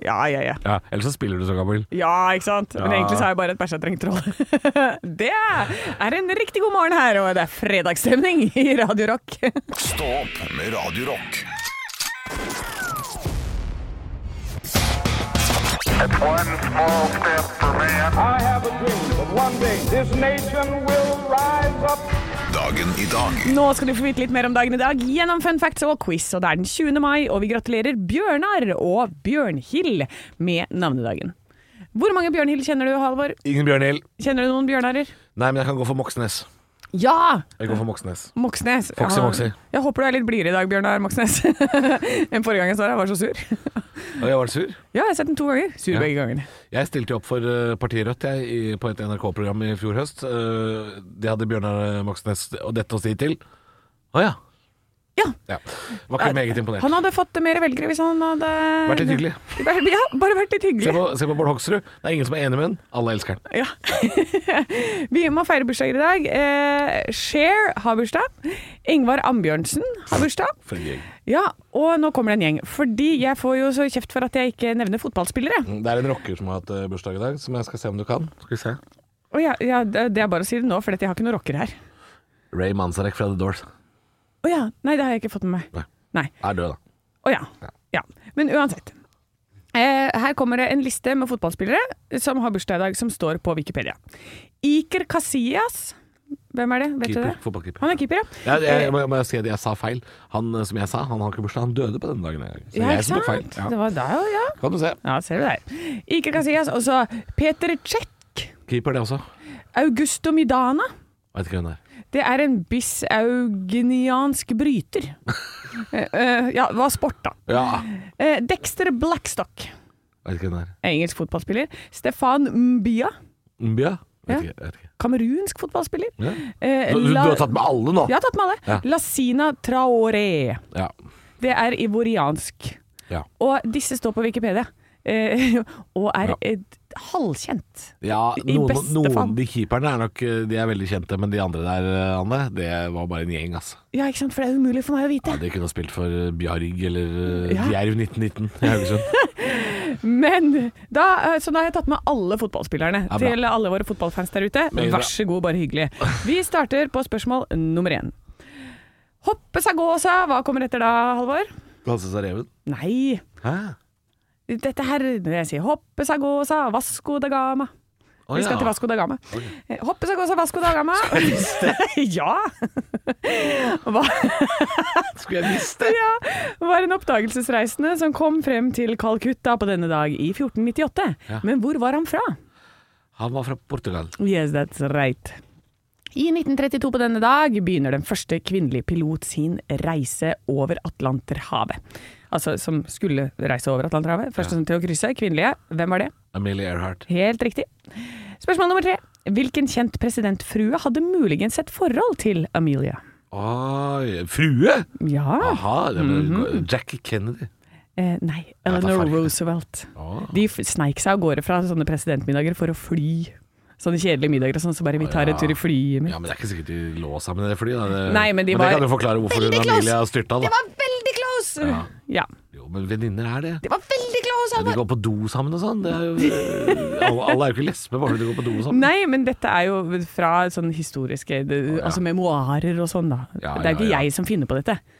Speaker 3: Ja, ja, ja.
Speaker 4: Ja, Eller så spiller du så gammel.
Speaker 3: Ja, ikke sant? Men
Speaker 4: Ja.
Speaker 3: egentlig så har jeg bare et bæsja trengt troll. Det er en riktig god morgen her, og det er fredagsstemning i Radio Rock.
Speaker 2: Stå opp med Radio Rock.
Speaker 1: It's one small step for man.
Speaker 5: I have a dream that one day this nation will rise up.
Speaker 2: Dagen i dag
Speaker 3: Nå skal du få vite litt mer om dagen i dag gjennom fun facts og quiz. Og det er den 20. mai, og vi gratulerer Bjørnar og Bjørnhild med navnedagen. Hvor mange Bjørnhild kjenner du, Halvor?
Speaker 4: Ingen Bjørnhild.
Speaker 3: Kjenner du noen Bjørnarer?
Speaker 4: Nei, men jeg kan gå for Moxnes.
Speaker 3: Ja!
Speaker 4: Jeg går for Moxnes.
Speaker 3: Moxnes.
Speaker 4: Foxy,
Speaker 3: Ja.
Speaker 4: Moxy.
Speaker 3: Jeg håper du er litt blidere i dag, Bjørnar Moxnes. Enn forrige gang jeg så deg, jeg var så sur.
Speaker 4: Og jeg var sur.
Speaker 3: Ja, jeg har sett den to ganger. Sur
Speaker 4: Ja.
Speaker 3: begge gangene.
Speaker 4: Jeg stilte jo opp for eh, partiet Rødt jeg, i, på et NRK-program i fjor høst. Eh, Det hadde Bjørnar eh, Moxnes og dette å si til. Å ja.
Speaker 3: Ja.
Speaker 4: ja. Var ikke meget imponert.
Speaker 3: Han hadde fått mer velgere hvis han hadde
Speaker 4: Vært litt hyggelig.
Speaker 3: Ja, bare vært litt
Speaker 4: Se
Speaker 3: hyggelig.
Speaker 4: på, se på Bård Hoksrud. Det er ingen som er enig med han. Alle elsker han.
Speaker 3: Ja. Vi må feire bursdager i dag. Eh, Cher har bursdag. Ingvar Ambjørnsen har bursdag.
Speaker 4: For en gjeng.
Speaker 3: Ja, og nå kommer det en gjeng. Fordi jeg får jo så kjeft for at jeg ikke nevner fotballspillere.
Speaker 4: Det er en rocker som har hatt eh, bursdag i dag, som jeg skal se om du kan. Skal vi se.
Speaker 3: Og ja, ja, det det er bare å si det nå, for jeg har ikke noen rockere her.
Speaker 4: Ray Manzarek fra The Doors.
Speaker 3: Å ja. Nei, det har jeg ikke fått med meg.
Speaker 4: Nei.
Speaker 3: Nei.
Speaker 4: Er død, da.
Speaker 3: Å ja. ja. Men uansett. Eh, her kommer det en liste med fotballspillere som har bursdag i dag, som står på Wikipedia. Iker Casillas. Hvem er det? Vet
Speaker 4: Keeper.
Speaker 3: du det?
Speaker 4: Fotballkeeper.
Speaker 3: Han er keeper, ja.
Speaker 4: Jeg, jeg, må, må jeg si at jeg sa feil. Han eh, som jeg sa, han har ikke bursdag. Han døde på denne dagen. jeg. Så
Speaker 3: Ja,
Speaker 4: jeg
Speaker 3: ikke
Speaker 4: som tok feil.
Speaker 3: sant?
Speaker 4: Ja.
Speaker 3: Det var da, ja.
Speaker 4: Kan du se.
Speaker 3: Ja, ser du der. Iker Casillas. Og så Peter Czech.
Speaker 4: Keeper, det også.
Speaker 3: Augusto Midana.
Speaker 4: Veit ikke hvem det er.
Speaker 3: Det er en bisaugeniansk bryter. Eh, eh, ja, det var sport, da.
Speaker 4: Ja.
Speaker 3: Eh, Dexter Blackstock.
Speaker 4: Veit ikke hvem det er.
Speaker 3: Engelsk fotballspiller. Stefan Mbia.
Speaker 4: Mbia? Vet
Speaker 3: Ja.
Speaker 4: ikke. Vet ikke.
Speaker 3: Kamerunsk fotballspiller.
Speaker 4: Ja.
Speaker 3: Eh,
Speaker 4: Du, du, du
Speaker 3: La-
Speaker 4: har tatt med alle nå?
Speaker 3: Jeg har tatt med alle.
Speaker 4: Ja.
Speaker 3: Lasina Traoré.
Speaker 4: Ja.
Speaker 3: Det er ivoriansk.
Speaker 4: Ja.
Speaker 3: Og disse står på Wikipedia. Eh, og er
Speaker 4: Ja.
Speaker 3: et halvkjent.
Speaker 4: ja
Speaker 3: I
Speaker 4: noen,
Speaker 3: beste
Speaker 4: noen
Speaker 3: fall.
Speaker 4: de keeperne er nok eh, De er veldig kjente, men de andre der, eh, Anne, det var bare en gjeng, altså.
Speaker 3: Ja, ikke sant? For det er umulig for meg å vite.
Speaker 4: Ja, de kunne ha spilt for eh, Bjarg eller eh,
Speaker 3: Ja.
Speaker 4: Djerv 1919 i Haugesund.
Speaker 3: Men da, eh, så da har jeg tatt med alle fotballspillerne
Speaker 4: Ja, bra.
Speaker 3: til alle våre fotballfans der ute.
Speaker 4: Veldig bra.
Speaker 3: Vær så god, bare hyggelig. Vi starter på spørsmål nummer én. Hoppe seg gå seg, hva kommer etter da, Halvor?
Speaker 4: Halse seg reven?
Speaker 3: Nei,
Speaker 4: Hæ?
Speaker 3: dette her når jeg sier hoppe seg gå seg, vasco da gama.
Speaker 4: Å,
Speaker 3: Vi skal
Speaker 4: ja.
Speaker 3: til Vasco da Gama. Eh, Hoppe seg gå seg, vasco da gama. ja! Hva?
Speaker 4: Skulle jeg visst det?
Speaker 3: Ja, var en oppdagelsesreisende som kom frem til Calcutta på denne dag i 1498.
Speaker 4: Ja.
Speaker 3: Men hvor var han fra?
Speaker 4: Han var fra Portugal.
Speaker 3: Yes, that's right. I 1932 på denne dag begynner den første kvinnelige pilot sin reise over Atlanterhavet. Altså som skulle reise over Atlanterhavet. Første som til å krysse, kvinnelige. Hvem var det?
Speaker 4: Amelie Earhart.
Speaker 3: Helt riktig. Spørsmål nummer tre. Hvilken kjent presidentfrue hadde muligens et forhold til Amelia?
Speaker 4: Oi, frue!
Speaker 3: Ja
Speaker 4: Aha, det var
Speaker 3: Mhm.
Speaker 4: Jackie Kennedy.
Speaker 3: eh, Nei,
Speaker 4: Ja, da
Speaker 3: Eleanor
Speaker 4: farger det.
Speaker 3: Roosevelt.
Speaker 4: Ah.
Speaker 3: De f- sneik seg av gårde fra sånne presidentmiddager for å fly. Sånne kjedelige middager og sånn, så bare vi tar en tur i flyet mitt.
Speaker 4: Ja, men Det er ikke sikkert de lå sammen i det flyet. da. Det,
Speaker 3: Nei, men de
Speaker 4: det
Speaker 3: var-
Speaker 4: kan jo forklare hvorfor hun
Speaker 3: Veldig close!
Speaker 4: Amelia styrta. da
Speaker 3: var veldig close! Ja.
Speaker 4: Ja. Jo, Men venninner er det.
Speaker 3: Det var veldig close!
Speaker 4: Ja, de går på do sammen og sånn. Det er jo, alle, alle er jo ikke lesbe bare fordi de går på do sånn. sammen.
Speaker 3: Nei, men dette er jo fra sånne historiske det,
Speaker 4: ja.
Speaker 3: Altså memoarer og sånn, da.
Speaker 4: Ja,
Speaker 3: det er jo ikke
Speaker 4: ja, ja.
Speaker 3: jeg som finner på dette.
Speaker 4: da.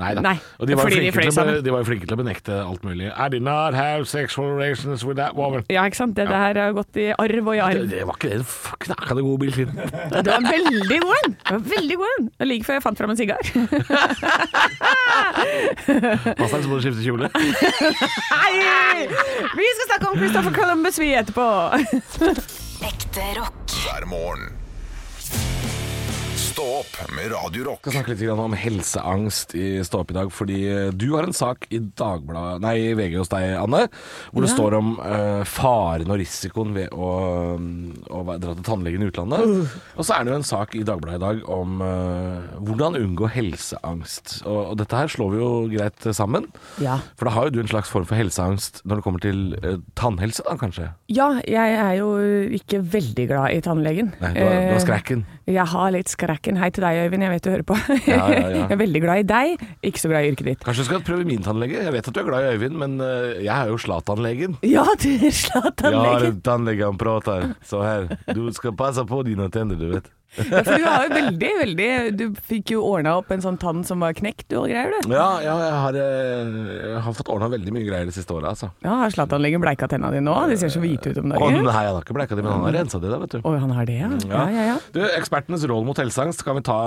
Speaker 3: Nei,
Speaker 4: og de var, jo
Speaker 3: fordi de
Speaker 4: flinke
Speaker 3: fløy
Speaker 4: til å be-
Speaker 3: sammen.
Speaker 4: de var jo flinke til å benekte alt mulig. I did not have sexual relations with that woman.
Speaker 3: Ja, ikke sant? Dette her har gått i arv og i
Speaker 4: Det,
Speaker 3: arv.
Speaker 4: det var ikke det f- knakkende gode Bill Clinton.
Speaker 3: Det var en veldig god en! Det var en veldig god en. Det var Like før jeg fant fram en sigar.
Speaker 4: Pass deg, så må du skifte kjole.
Speaker 3: Nei! Vi skal snakke om Christopher Columbus, vi, etterpå.
Speaker 6: Ekte rock.
Speaker 2: hver morgen. Stå opp med Radio Rock.
Speaker 4: skal snakke litt grann om helseangst i Stå opp i dag, fordi eh, du har en sak i Dagbladet, nei, i VG hos deg, Anne, hvor det står om eh, faren og risikoen ved å, å være- dra til tannlegen i utlandet. Og så er det jo en sak i Dagbladet i dag om eh, hvordan unngå helseangst. Og, og dette her slår vi jo greit sammen.
Speaker 3: Ja.
Speaker 4: For da har jo du en slags form for helseangst når det kommer til eh, tannhelse, da kanskje?
Speaker 3: ja, jeg er jo ikke veldig glad i tannlegen.
Speaker 4: Nei, du har, du har
Speaker 3: Eh,
Speaker 4: skrekken.
Speaker 3: Jeg har litt skrekken. Hei til deg, Øyvind. Jeg vet du hører på.
Speaker 4: Ja, ja, ja.
Speaker 3: Jeg er veldig glad i deg, ikke så glad i yrket ditt.
Speaker 4: Kanskje du skal prøve min tannlege? Jeg vet at du er glad i Øyvind, men eh, jeg er jo Zlatan-legen.
Speaker 3: Ja, du er
Speaker 4: Ja,
Speaker 3: Zlatan-legen.
Speaker 4: tannlegen prater så her. Du skal passe på dine tenner, du vet.
Speaker 3: Ja, for du har jo veldig, veldig Du fikk jo ordna opp en sånn tann som var knekt og greier, du.
Speaker 4: Ja, ja jeg, har, eh, jeg har fått ordna veldig mye greier det siste året, altså.
Speaker 3: Ja, har Zlatan-legen bleika tenna dine nå? De ser så hvite ut om
Speaker 4: Å nei,
Speaker 3: dagen.
Speaker 4: han har ikke bleika det, men han har rensa det, da, vet du.
Speaker 3: Å, han har det, ja. Ja, ja, ja.
Speaker 4: Du, Ekspertenes råd mot helseangst kan vi ta,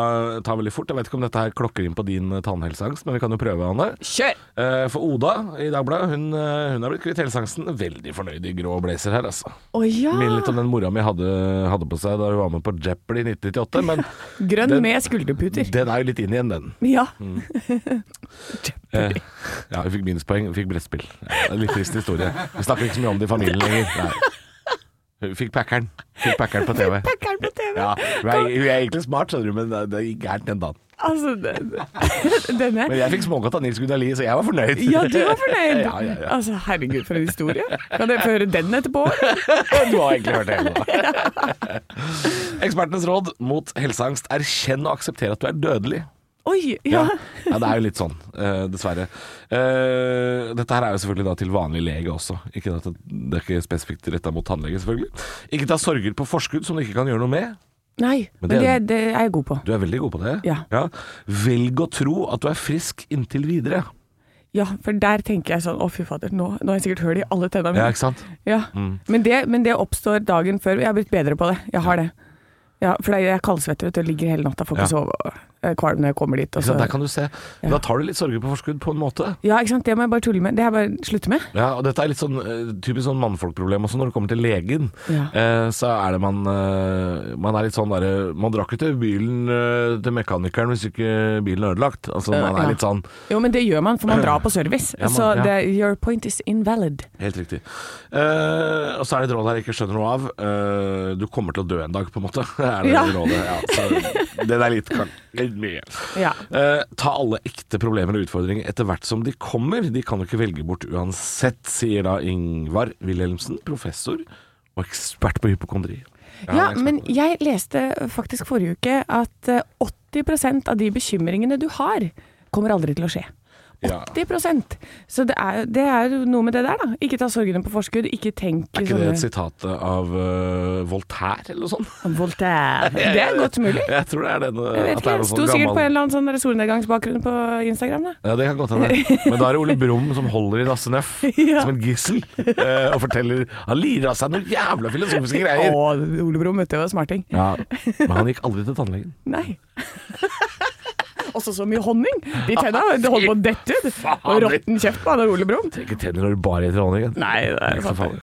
Speaker 4: ta veldig fort. Jeg vet ikke om dette her klokker inn på din eh, tannhelseangst, men vi kan jo prøve, Anne.
Speaker 3: Kjør!
Speaker 4: Eh, For Oda i Dagbladet, hun, eh, hun er blitt kvitt helseangsten. Veldig fornøyd i grå blazer her, altså.
Speaker 3: Å ja!
Speaker 4: Minner litt om den mora mi hadde, hadde på seg da hun var med på Jeopardy i 1998, men
Speaker 3: Grønn
Speaker 4: Den-
Speaker 3: med skulderputer.
Speaker 4: den er jo litt inn igjen, den. Mm.
Speaker 3: Ja.
Speaker 4: Eh, ja, vi fikk minuspoeng, vi fikk brettspill. Ja, det er litt trist historie. Vi snakker ikke så mye om det i familien lenger. Nei. Vi fikk Packeren. Fikk Packeren på TV.
Speaker 3: Packeren på TV.
Speaker 4: Ja, hun er, hun er egentlig smart, skjønner du, men det- det gikk gærent den dagen.
Speaker 3: Altså, den- denne
Speaker 4: Men jeg fikk smågodt av Nils Gunnar Lie, så jeg var fornøyd.
Speaker 3: Ja, du var fornøyd.
Speaker 4: Ja, ja, ja.
Speaker 3: Altså, herregud, for en historie. Kan dere få høre den etterpå?
Speaker 4: Du har egentlig hørt det hele da. Ekspertenes råd mot helseangst er kjenn og aksepter at du er dødelig.
Speaker 3: Oi,
Speaker 4: Ja.
Speaker 3: ja.
Speaker 4: ja, det er jo litt sånn, eh, dessverre. Eh, dette her er jo selvfølgelig da til vanlig lege også. Ikke at det, det er ikke spesifikt retta mot tannlege, selvfølgelig. Ikke ta sorger på forskudd som du ikke kan gjøre noe med.
Speaker 3: Nei, men
Speaker 4: Men det-
Speaker 3: det, det er jeg god på.
Speaker 4: Du er veldig god på det.
Speaker 3: Ja.
Speaker 4: Velg å tro at du er frisk inntil videre.
Speaker 3: Ja, for der tenker jeg sånn Å, fy fader, nå, nå har jeg sikkert hull i alle tennene
Speaker 4: Ja, Mm.
Speaker 3: mine.
Speaker 4: ikke sant?
Speaker 3: Ja. Men, det, men det oppstår dagen før. Jeg har blitt bedre på det. Jeg har det. Ja, for jeg er kaldsvetter vet du, og ligger hele natta, får ikke
Speaker 4: Ja.
Speaker 3: sove og er kvalm når jeg kommer dit. Og
Speaker 4: Ikke
Speaker 3: så.
Speaker 4: sant? Der kan du se. Da tar du litt sorger på forskudd på en måte.
Speaker 3: Ja, ikke sant. Det må jeg bare tulle med. Det har jeg bare slutte med.
Speaker 4: Ja, og dette er litt sånn eh, typisk sånn mannfolkproblem også når det kommer til legen.
Speaker 3: Ja.
Speaker 4: Eh, så er det man eh, Man er litt sånn derre Man drar ikke til bilen eh, til mekanikeren hvis ikke bilen er ødelagt. Altså man
Speaker 3: Ja.
Speaker 4: er litt sånn
Speaker 3: Jo, men det gjør man, for man drar på service.
Speaker 4: Ja, man-
Speaker 3: så
Speaker 4: ja.
Speaker 3: det, your point is invalid.
Speaker 4: Helt riktig. Eh, og så er det et råd her jeg ikke skjønner noe av. Eh, du kommer til å dø en dag, på en måte. er det
Speaker 3: Ja.
Speaker 4: rådet. Ja, så det er litt, kan- litt mye.
Speaker 3: Ja.
Speaker 4: Eh, ta alle ekte problemer og utfordringer etter hvert som de kommer. De kan jo ikke velge bort uansett, sier da Ingvar Wilhelmsen, professor og ekspert på hypokondri.
Speaker 3: Ja,
Speaker 4: han er ekspert
Speaker 3: men
Speaker 4: på det.
Speaker 3: jeg leste faktisk forrige uke at eh, 80 av de bekymringene du har, kommer aldri til å skje.
Speaker 4: Ja.
Speaker 3: 80 Så det er, det er jo noe med det der, da. Ikke ta sorgene på forskudd. Ikke tenk
Speaker 4: Er ikke det et sitat av eh, Voltaire eller noe sånt?
Speaker 3: Voltaire. Det er godt mulig.
Speaker 4: Jeg tror det er den.
Speaker 3: Jeg vet
Speaker 4: at
Speaker 3: ikke,
Speaker 4: det er noe
Speaker 3: det
Speaker 4: sånn
Speaker 3: Sto sikkert
Speaker 4: gammel-
Speaker 3: på en eller annen sånn der solnedgangsbakgrunn på Instagram. Da.
Speaker 4: Ja, det kan godt hende. Men da er det Ole Brumm som holder i Lasse Nøff
Speaker 3: Ja.
Speaker 4: som en gissel eh, og forteller Han lirer av seg noen jævla filosofiske greier.
Speaker 3: Ole Brumm, vet du, var smarting.
Speaker 4: Ja, men han gikk aldri til tannlegen.
Speaker 3: Nei. Også så mye honning! De tenna det holder på å dette ut. Og råtten kjeft på han og Ole Brumm.
Speaker 4: Ikke tenner når du bare gir til tannlegen.
Speaker 3: Nei, det er
Speaker 4: Så faen.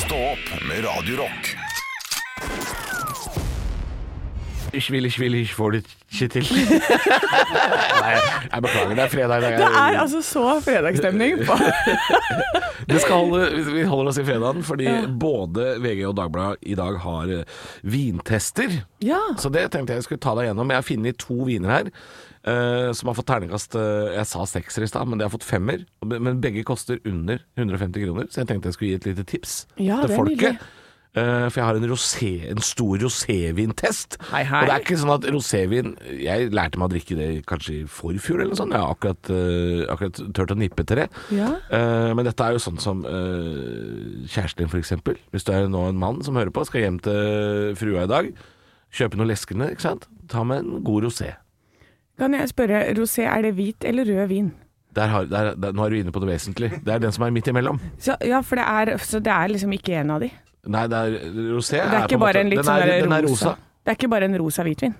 Speaker 2: Stå opp med Radio Rock.
Speaker 4: Ich will, ich will, ich får det ikke til. Nei, jeg beklager. Det er fredag i dag.
Speaker 3: Det er altså så fredagsstemning. På.
Speaker 4: Det skal holde, vi- vi holder oss i fredagen, fordi både VG og Dagbladet i dag har eh, vintester.
Speaker 3: Ja.
Speaker 4: Så det tenkte jeg skulle ta deg gjennom. Jeg har funnet to viner her eh, som har fått terningkast eh, Jeg sa sekser i stad, men de har fått femmer. Men men begge koster under 150 kroner, så jeg tenkte jeg skulle gi et lite tips
Speaker 3: Ja, det er
Speaker 4: til
Speaker 3: nydelig.
Speaker 4: folket. Eh, for jeg har en, rosé, en stor rosévintest.
Speaker 3: Hei, hei.
Speaker 4: Og det er ikke sånn at rosévin Jeg lærte meg å drikke det kanskje i forfjor eller noe sånt. Jeg har akkurat, eh, akkurat tørt å nippe til det.
Speaker 3: Ja.
Speaker 4: Eh, men dette er jo sånn som eh, kjæresten din, f.eks. Hvis du er nå en mann som hører på, skal hjem til frua i dag, kjøpe noe leskende, ikke sant? Ta med en god rosé.
Speaker 3: Kan jeg spørre, rosé, er det hvit eller rød vin?
Speaker 4: Der har, der, der, nå er du inne på det vesentlige. Det er den som er midt imellom.
Speaker 3: Så, ja, for det er, så det er liksom ikke en av de.
Speaker 4: Nei, det er, rosé
Speaker 3: Det er
Speaker 4: på
Speaker 3: ikke
Speaker 4: en måte-
Speaker 3: bare en litt
Speaker 4: den
Speaker 3: sånn
Speaker 4: er,
Speaker 3: der
Speaker 4: den er
Speaker 3: rosa.
Speaker 4: rosa.
Speaker 3: Det er ikke bare en rosa hvitvin.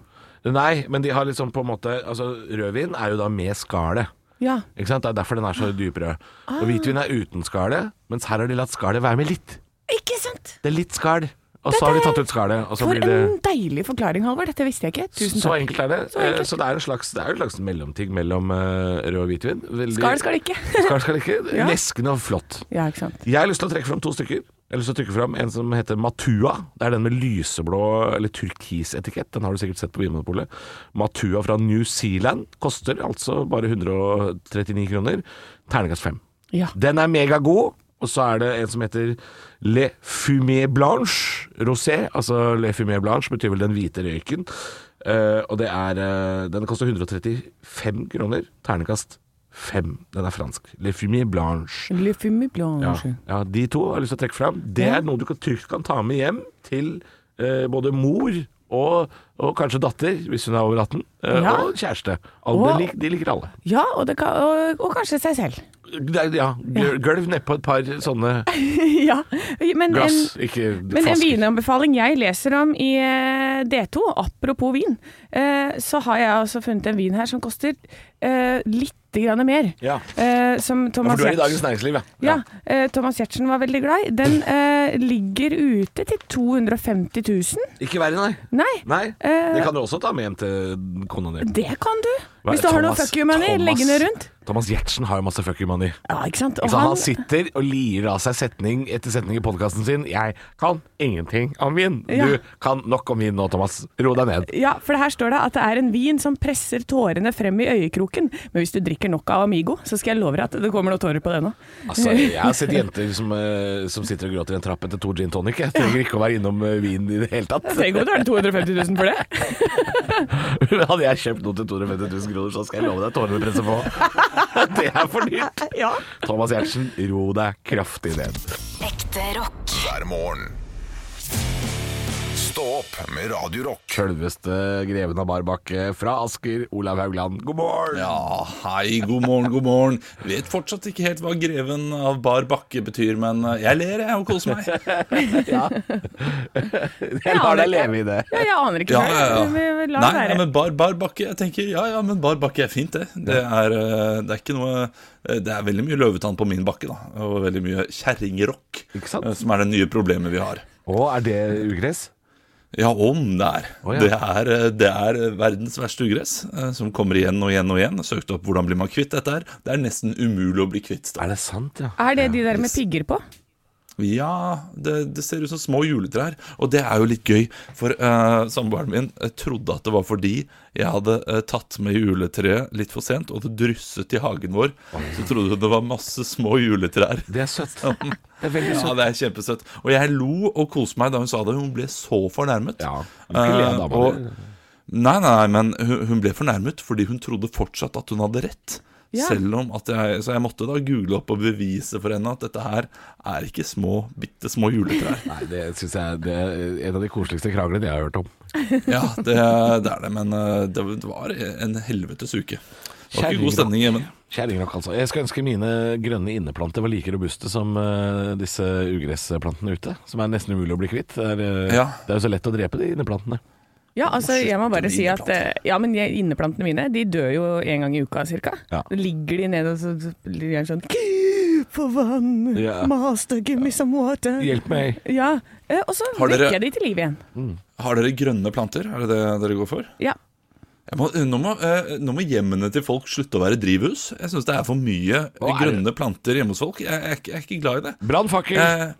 Speaker 4: Nei, men de har liksom på en måte Altså, rødvin er jo da med skallet.
Speaker 3: Ja.
Speaker 4: Ikke sant? Det er derfor den er så dyprød. Og hvitvin er uten skallet, mens her har de latt skallet være med litt.
Speaker 3: Ikke sant?
Speaker 4: Det er litt skall, og
Speaker 3: Dette
Speaker 4: så har de
Speaker 3: er-
Speaker 4: tatt ut skallet. Og så
Speaker 3: For
Speaker 4: blir det
Speaker 3: en deilig forklaring, Halvor. Dette visste jeg ikke. Tusen
Speaker 4: Så
Speaker 3: takk.
Speaker 4: enkelt er det.
Speaker 3: Så enkelt.
Speaker 4: Eh, Så det er en slags, det er jo en slags mellomting mellom eh, rød og hvitvin. Veldig-
Speaker 3: Skal det, skal det ikke.
Speaker 4: Skal, skal det ikke.
Speaker 3: Ja.
Speaker 4: Leskende og flott.
Speaker 3: Ja, ikke sant.
Speaker 4: Jeg har lyst til å trekke fram to stykker. Jeg har lyst til å trekke fram En som heter Matua. Det er den med lyseblå eller turkisetikett. Den har du sikkert sett på Vinmonopolet. Matua fra New Zealand koster altså bare 139 kroner. Terningkast fem.
Speaker 3: Ja.
Speaker 4: Den er megagod. Og så er det en som heter Le Fumé Blanche Rosé. Altså Le Fumé Blanche betyr vel den hvite røyken. Eh, og det er eh, Den koster 135 kroner. Ternekast 5. Den er fransk. Le Fumé Blanche.
Speaker 3: Le fume
Speaker 4: Ja,
Speaker 3: blanche.
Speaker 4: ja, De to har jeg lyst til å trekke fram. Det er noe du kan, trygt kan ta med hjem til eh, både mor og, og kanskje datter, hvis hun er over 18, eh,
Speaker 3: Ja.
Speaker 4: og kjæreste. Alle,
Speaker 3: Og-
Speaker 4: lik, de liker alle.
Speaker 3: Ja, og, det kan, og, og kanskje seg selv.
Speaker 4: Det er- Ja, gøl- gølv nedpå et par sånne
Speaker 3: ja. Men en,
Speaker 4: Glass, ikke
Speaker 3: men en
Speaker 4: flasker.
Speaker 3: vinanbefaling jeg leser om i eh, D2, apropos vin, eh, så har jeg altså funnet en vin her som koster eh, litt grann mer.
Speaker 4: Ja.
Speaker 3: Eh, Som
Speaker 4: For
Speaker 3: Thomas
Speaker 4: du er i
Speaker 3: Giertsen-
Speaker 4: Dagens Næringsliv, ja.
Speaker 3: Ja, eh, Thomas Giertsen var veldig glad i. Den eh, ligger ute til 250 000.
Speaker 4: Ikke verre, nei.
Speaker 3: Nei,
Speaker 4: Nei,
Speaker 3: Eh,
Speaker 4: Det kan du også ta med hjem til kona di.
Speaker 3: det kan du.
Speaker 4: Hva-
Speaker 3: Hvis du har noe
Speaker 4: Thomas-
Speaker 3: fuck you money
Speaker 4: Thomas-
Speaker 3: liggende rundt.
Speaker 4: Thomas Giertsen har jo masse fuck you money.
Speaker 3: Ja, ikke sant? Og
Speaker 4: Så han
Speaker 3: han,
Speaker 4: sitter og lirer av seg setning etter setning i podkasten sin. 'Jeg kan ingenting om vin'.
Speaker 3: Ja.
Speaker 4: Du kan nok om vin nå, Thomas. Ro deg ned.
Speaker 3: ja, for det her står det at det er en vin som presser tårene frem i øyekroken. Men hvis du drikker nok av Amigo, så skal jeg love deg at det kommer noen tårer på det nå.
Speaker 4: Altså, Jeg har sett jenter som, eh, som sitter og gråter i en trapp etter to gin tonic. Jeg trenger ikke å være innom eh, vin i det hele tatt.
Speaker 3: Tenk om du har 250 000 for det.
Speaker 4: Hadde jeg kjøpt noe til 250 000 kroner, så skal jeg love deg tårene presser på. Det er for dyrt.
Speaker 3: Ja.
Speaker 4: Thomas Giertsen, ro deg kraftig ned.
Speaker 6: Ekte rock.
Speaker 2: hver morgen. Stå opp med Radio Rock.
Speaker 4: Sjølveste greven av Barbakke fra Asker, Olav Haugland, god morgen!
Speaker 7: Ja, hei, god morgen, god morgen. Vet fortsatt ikke helt hva greven av bar bakke betyr, men eh, jeg ler jeg og koser meg.
Speaker 4: Jeg lar deg leve i det.
Speaker 3: Ja, jeg aner ikke
Speaker 7: Ja,
Speaker 3: selv.
Speaker 7: ja, ja.
Speaker 3: Vi- vi
Speaker 7: Nei,
Speaker 3: lar det
Speaker 7: nei,
Speaker 3: være.
Speaker 7: men bar, bar bakke, jeg tenker, ja, ja, men bar bakke er fint det. Det er, eh, det er ikke noe, eh, det er veldig mye løvetann på min bakke da, og veldig mye kjerringrock,
Speaker 4: Ikke sant?
Speaker 7: eh, som er det nye problemet vi har.
Speaker 4: Å, er det ugress?
Speaker 7: Ja, om det er.
Speaker 4: Å, ja.
Speaker 7: Det, er eh, det er verdens verste ugress, eh, som kommer igjen og igjen og igjen. Søkt opp hvordan blir man kvitt dette her. Det er nesten umulig å bli kvitt. Da.
Speaker 4: Er det sant, ja?
Speaker 3: Er det de der med pigger på?
Speaker 7: Ja, det, det ser ut som små juletrær. Og det er jo litt gøy, for eh, samboeren min eh, trodde at det var fordi jeg hadde eh, tatt med juletreet litt for sent, og det drysset i hagen vår. Så trodde hun det var masse små juletrær.
Speaker 4: Det er søtt. Det er veldig
Speaker 7: Ja,
Speaker 4: søtt.
Speaker 7: det er kjempesøtt. Og jeg lo og koste meg da hun sa det. Hun ble så fornærmet.
Speaker 4: Ja. Du kan ikke le av
Speaker 7: Eh,
Speaker 4: dama
Speaker 7: og-
Speaker 4: di.
Speaker 7: Nei, nei, nei, men hun, hun ble fornærmet fordi hun trodde fortsatt at hun hadde rett.
Speaker 3: Ja.
Speaker 7: Selv om at jeg, Så jeg måtte da google opp og bevise for henne at dette her er ikke små, bitte små juletrær.
Speaker 4: Nei, det syns jeg det er en av de koseligste kranglene jeg har hørt om.
Speaker 7: Ja, det, det er det, men eh, det var en helvetes uke. Det var ikke god stemning i hjemmen.
Speaker 4: Kjerringrokk, altså. Jeg skal ønske mine grønne inneplanter var like robuste som eh, disse ugressplantene ute, som er nesten umulig å bli kvitt. Det er, eh,
Speaker 7: Ja.
Speaker 4: det er jo så lett å drepe de inneplantene.
Speaker 3: Ja, altså, jeg må bare si at eh, ja, men jeg- inneplantene mine de dør jo en gang i uka ca.
Speaker 4: Ja.
Speaker 3: Da ligger de nede og så så blir de sånn På vann,
Speaker 4: Ja.
Speaker 3: master, give me some water.
Speaker 4: Hjelp meg.
Speaker 3: Ja, eh, Og så
Speaker 7: Har dere-
Speaker 3: vekker jeg de til liv igjen.
Speaker 7: Har dere grønne planter? Er det det dere går for?
Speaker 3: Ja.
Speaker 7: Jeg må, nå, må, eh, nå må hjemmene til folk slutte å være drivhus. Jeg syns det er for mye
Speaker 4: Hva er det?
Speaker 7: grønne planter hjemme hos folk. Jeg, er ikke- jeg er ikke glad i det.
Speaker 4: Brannfakkel!
Speaker 7: Eh,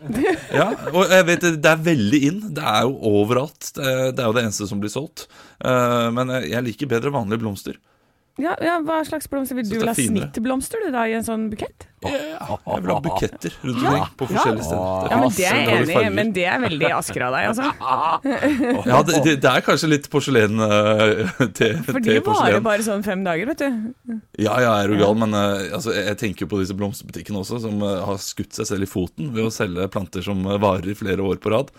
Speaker 7: ja, og jeg vet det, det er veldig inn. Det er jo overalt. Det er, det er jo det eneste som blir solgt. Eh, men jeg jeg liker bedre vanlige blomster.
Speaker 3: Ja, ja, Hva slags blomster vil du
Speaker 7: det er
Speaker 3: vil ha?
Speaker 7: finere.
Speaker 3: Snittblomster du da i en sånn bukett?
Speaker 7: Jeg vil ha buketter rundt omkring på forskjellige
Speaker 3: Ja,
Speaker 7: steder.
Speaker 3: men
Speaker 7: masse
Speaker 3: Det er jeg
Speaker 7: forskjellige
Speaker 3: enig i,
Speaker 7: farger.
Speaker 3: men det er veldig Asker av deg, altså.
Speaker 7: ja, det, det, det er kanskje litt porselen eh, til,
Speaker 3: For de varer
Speaker 7: til porselen.
Speaker 3: bare sånn fem dager, vet du.
Speaker 7: Ja, ja, jeg er jo gal, men eh, altså, jeg jeg tenker jo på disse blomsterbutikkene også, som eh, har skutt seg selv i foten ved å selge planter som eh, varer i flere år på rad.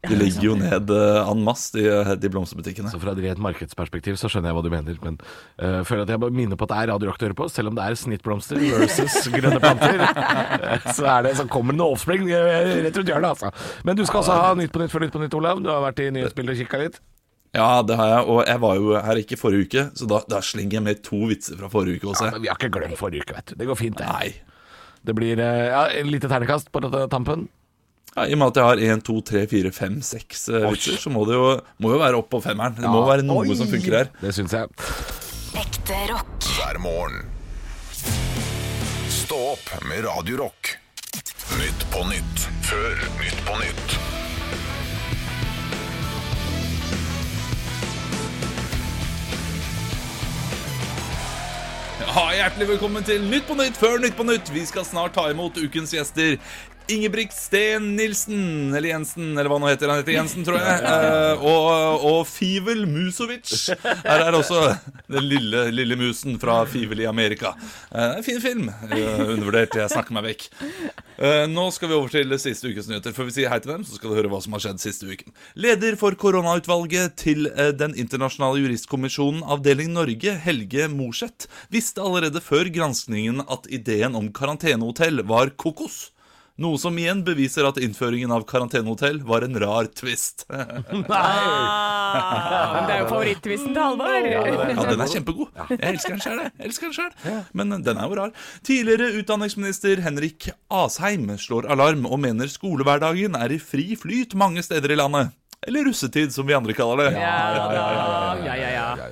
Speaker 7: De legger jo ned uh, en masse, de, eh, de blomsterbutikkene.
Speaker 4: Så Fra et rent markedsperspektiv så skjønner jeg hva du mener, men eh, føler at jeg bare minner på at det er Radio Rock du hører på, selv om det er snittblomster versus grønne planter. Eh, så er det så kommer det noe offspring eh, rett rundt hjørnet, altså. Men du skal altså ha Nytt på Nytt før Nytt på Nytt, Olav. Du har vært i nyhetsbildet og kikka litt.
Speaker 7: Ja, det har jeg, og jeg var jo her ikke forrige uke, så da, da slenger jeg med to vitser fra forrige uke også.
Speaker 4: Men vi har ikke glemt forrige uke, vet du. Det går fint, det.
Speaker 7: Nei.
Speaker 4: Det blir eh, ja, et lite ternekast på dette tampen.
Speaker 7: Ja, I og med at jeg har 1, 2, 3, 4, 5, 6 eh, vitser, så må det jo, må jo være opp på femmeren. Det må være noe som funker her.
Speaker 4: Det syns jeg.
Speaker 6: Ekte rock.
Speaker 2: hver morgen. Stå opp med Radio Rock. Nytt på nytt før Nytt på nytt.
Speaker 7: Ja, hjertelig velkommen til Nytt på Nytt før Nytt på Nytt. Vi skal snart ta imot ukens gjester. Ingebrigt Sten Nilsen, eller Jensen, eller hva han nå heter. Han heter Jensen, tror jeg. Eh, og, og Fivel Musovic. Her er også den lille, lille musen fra Fivel i Amerika. Eh, fin film. Eh, undervurdert. Jeg snakker meg vekk. Eh, Nå skal vi over til siste ukes nyheter. Før vi sier hei til dem, så skal du høre hva som har skjedd siste uken. Leder for koronautvalget til eh, Den internasjonale juristkommisjonen avdeling Norge, Helge Morseth, visste allerede før granskningen at ideen om karantenehotell var kokos. Noe som igjen beviser at innføringen av karantenehotell var en rar twist.
Speaker 3: Ah, men det er jo favorittvisen til Halvor.
Speaker 7: Ja, den er kjempegod. Jeg elsker den sjøl, jeg. Jeg elsker den selv. Men den er jo rar. Tidligere utdanningsminister Henrik Asheim slår alarm og mener skolehverdagen er i fri flyt mange steder i landet. Eller russetid, som vi andre kaller det.
Speaker 3: Ja da. Ja, ja, ja.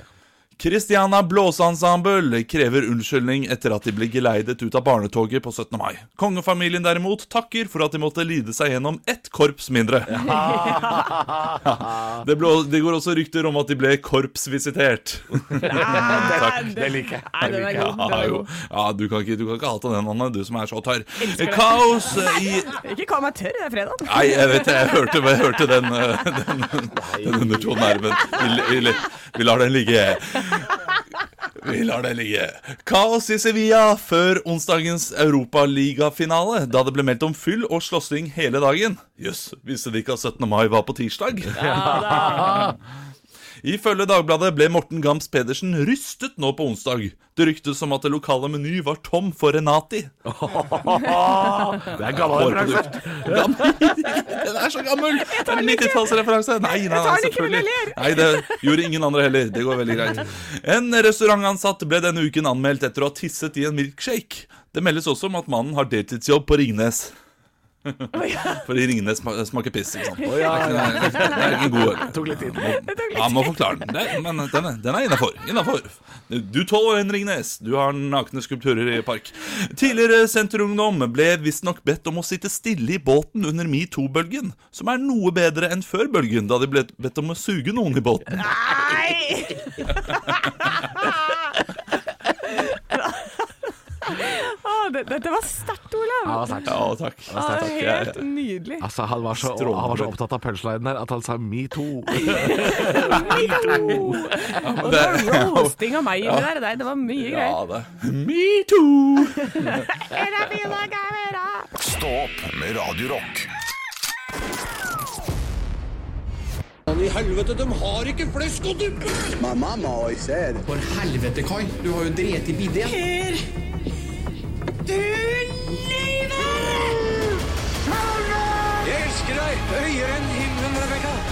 Speaker 7: Christiana Blåseensemble krever unnskyldning etter at de ble geleidet ut av barnetoget på 17. mai. Kongefamilien derimot takker for at de måtte lide seg gjennom ett korps mindre. Det, ble, det går også rykter om at de ble korpsvisitert.
Speaker 3: Takk.
Speaker 4: Det liker jeg.
Speaker 3: Nei, den er god. Den
Speaker 7: Ja,
Speaker 3: er
Speaker 7: jo.
Speaker 3: god.
Speaker 7: ja du, kan ikke, du kan ikke hate den, Anne, du som er så tørr. Kaos i
Speaker 3: Ikke kall meg tørr, det er fredag.
Speaker 7: Nei, jeg vet det, jeg hørte, jeg hørte den, eh, den, den undertonen her, men vi, vi, vi lar den ligge. Vi lar den ligge. Kaos i Sevilla før onsdagens europaligafinale, da det ble meldt om fyll og slåssing hele dagen. Jøss, visste de ikke at 17. mai var på tirsdag? Ifølge Dagbladet ble Morten Gams Pedersen rystet nå på onsdag. Det ryktes om at det lokale Meny var tom for Renati.
Speaker 4: Det er gammel referanse.
Speaker 7: Den er så gammel! Det er en 90-tallsreferanse. Nei, nei,
Speaker 3: den ikke, men
Speaker 7: nei,
Speaker 3: jeg
Speaker 7: selvfølgelig. Nei, det gjorde ingen andre heller. Det går veldig greit. En restaurantansatt ble denne uken anmeldt etter å ha tisset i en milkshake. Det meldes også om at mannen har deltidsjobb på Ringnes. Fordi Ringnes sma- smaker piss, ikke sant.
Speaker 4: Å, ja, ja.
Speaker 7: Det er ikke en god øl.
Speaker 4: Tok litt tid.
Speaker 7: Ja, må forklare den. Det, men den er, den er innafor. Du tåler en Ringnes. Du har nakne skulpturer i park. Tidligere Senterungdom ble visstnok bedt om å sitte stille i båten under metoo-bølgen, som er noe bedre enn før bølgen, da de ble bedt om å suge noen i båten.
Speaker 3: Nei! Å, det, dette var sterkt, Ola.
Speaker 4: Ja, det Altså, var sterkt.
Speaker 7: Ja, takk.
Speaker 3: Ah,
Speaker 7: takk. Jeg-
Speaker 3: helt nydelig.
Speaker 4: Altså, han var, så,
Speaker 7: Strålende.
Speaker 4: han var så opptatt av punchlinen der at han sa metoo.
Speaker 3: Og det var roasting av meg inni der. Nei, det var mye greier.
Speaker 7: Ja, det. Me too!
Speaker 2: Stå opp med Radio Rock.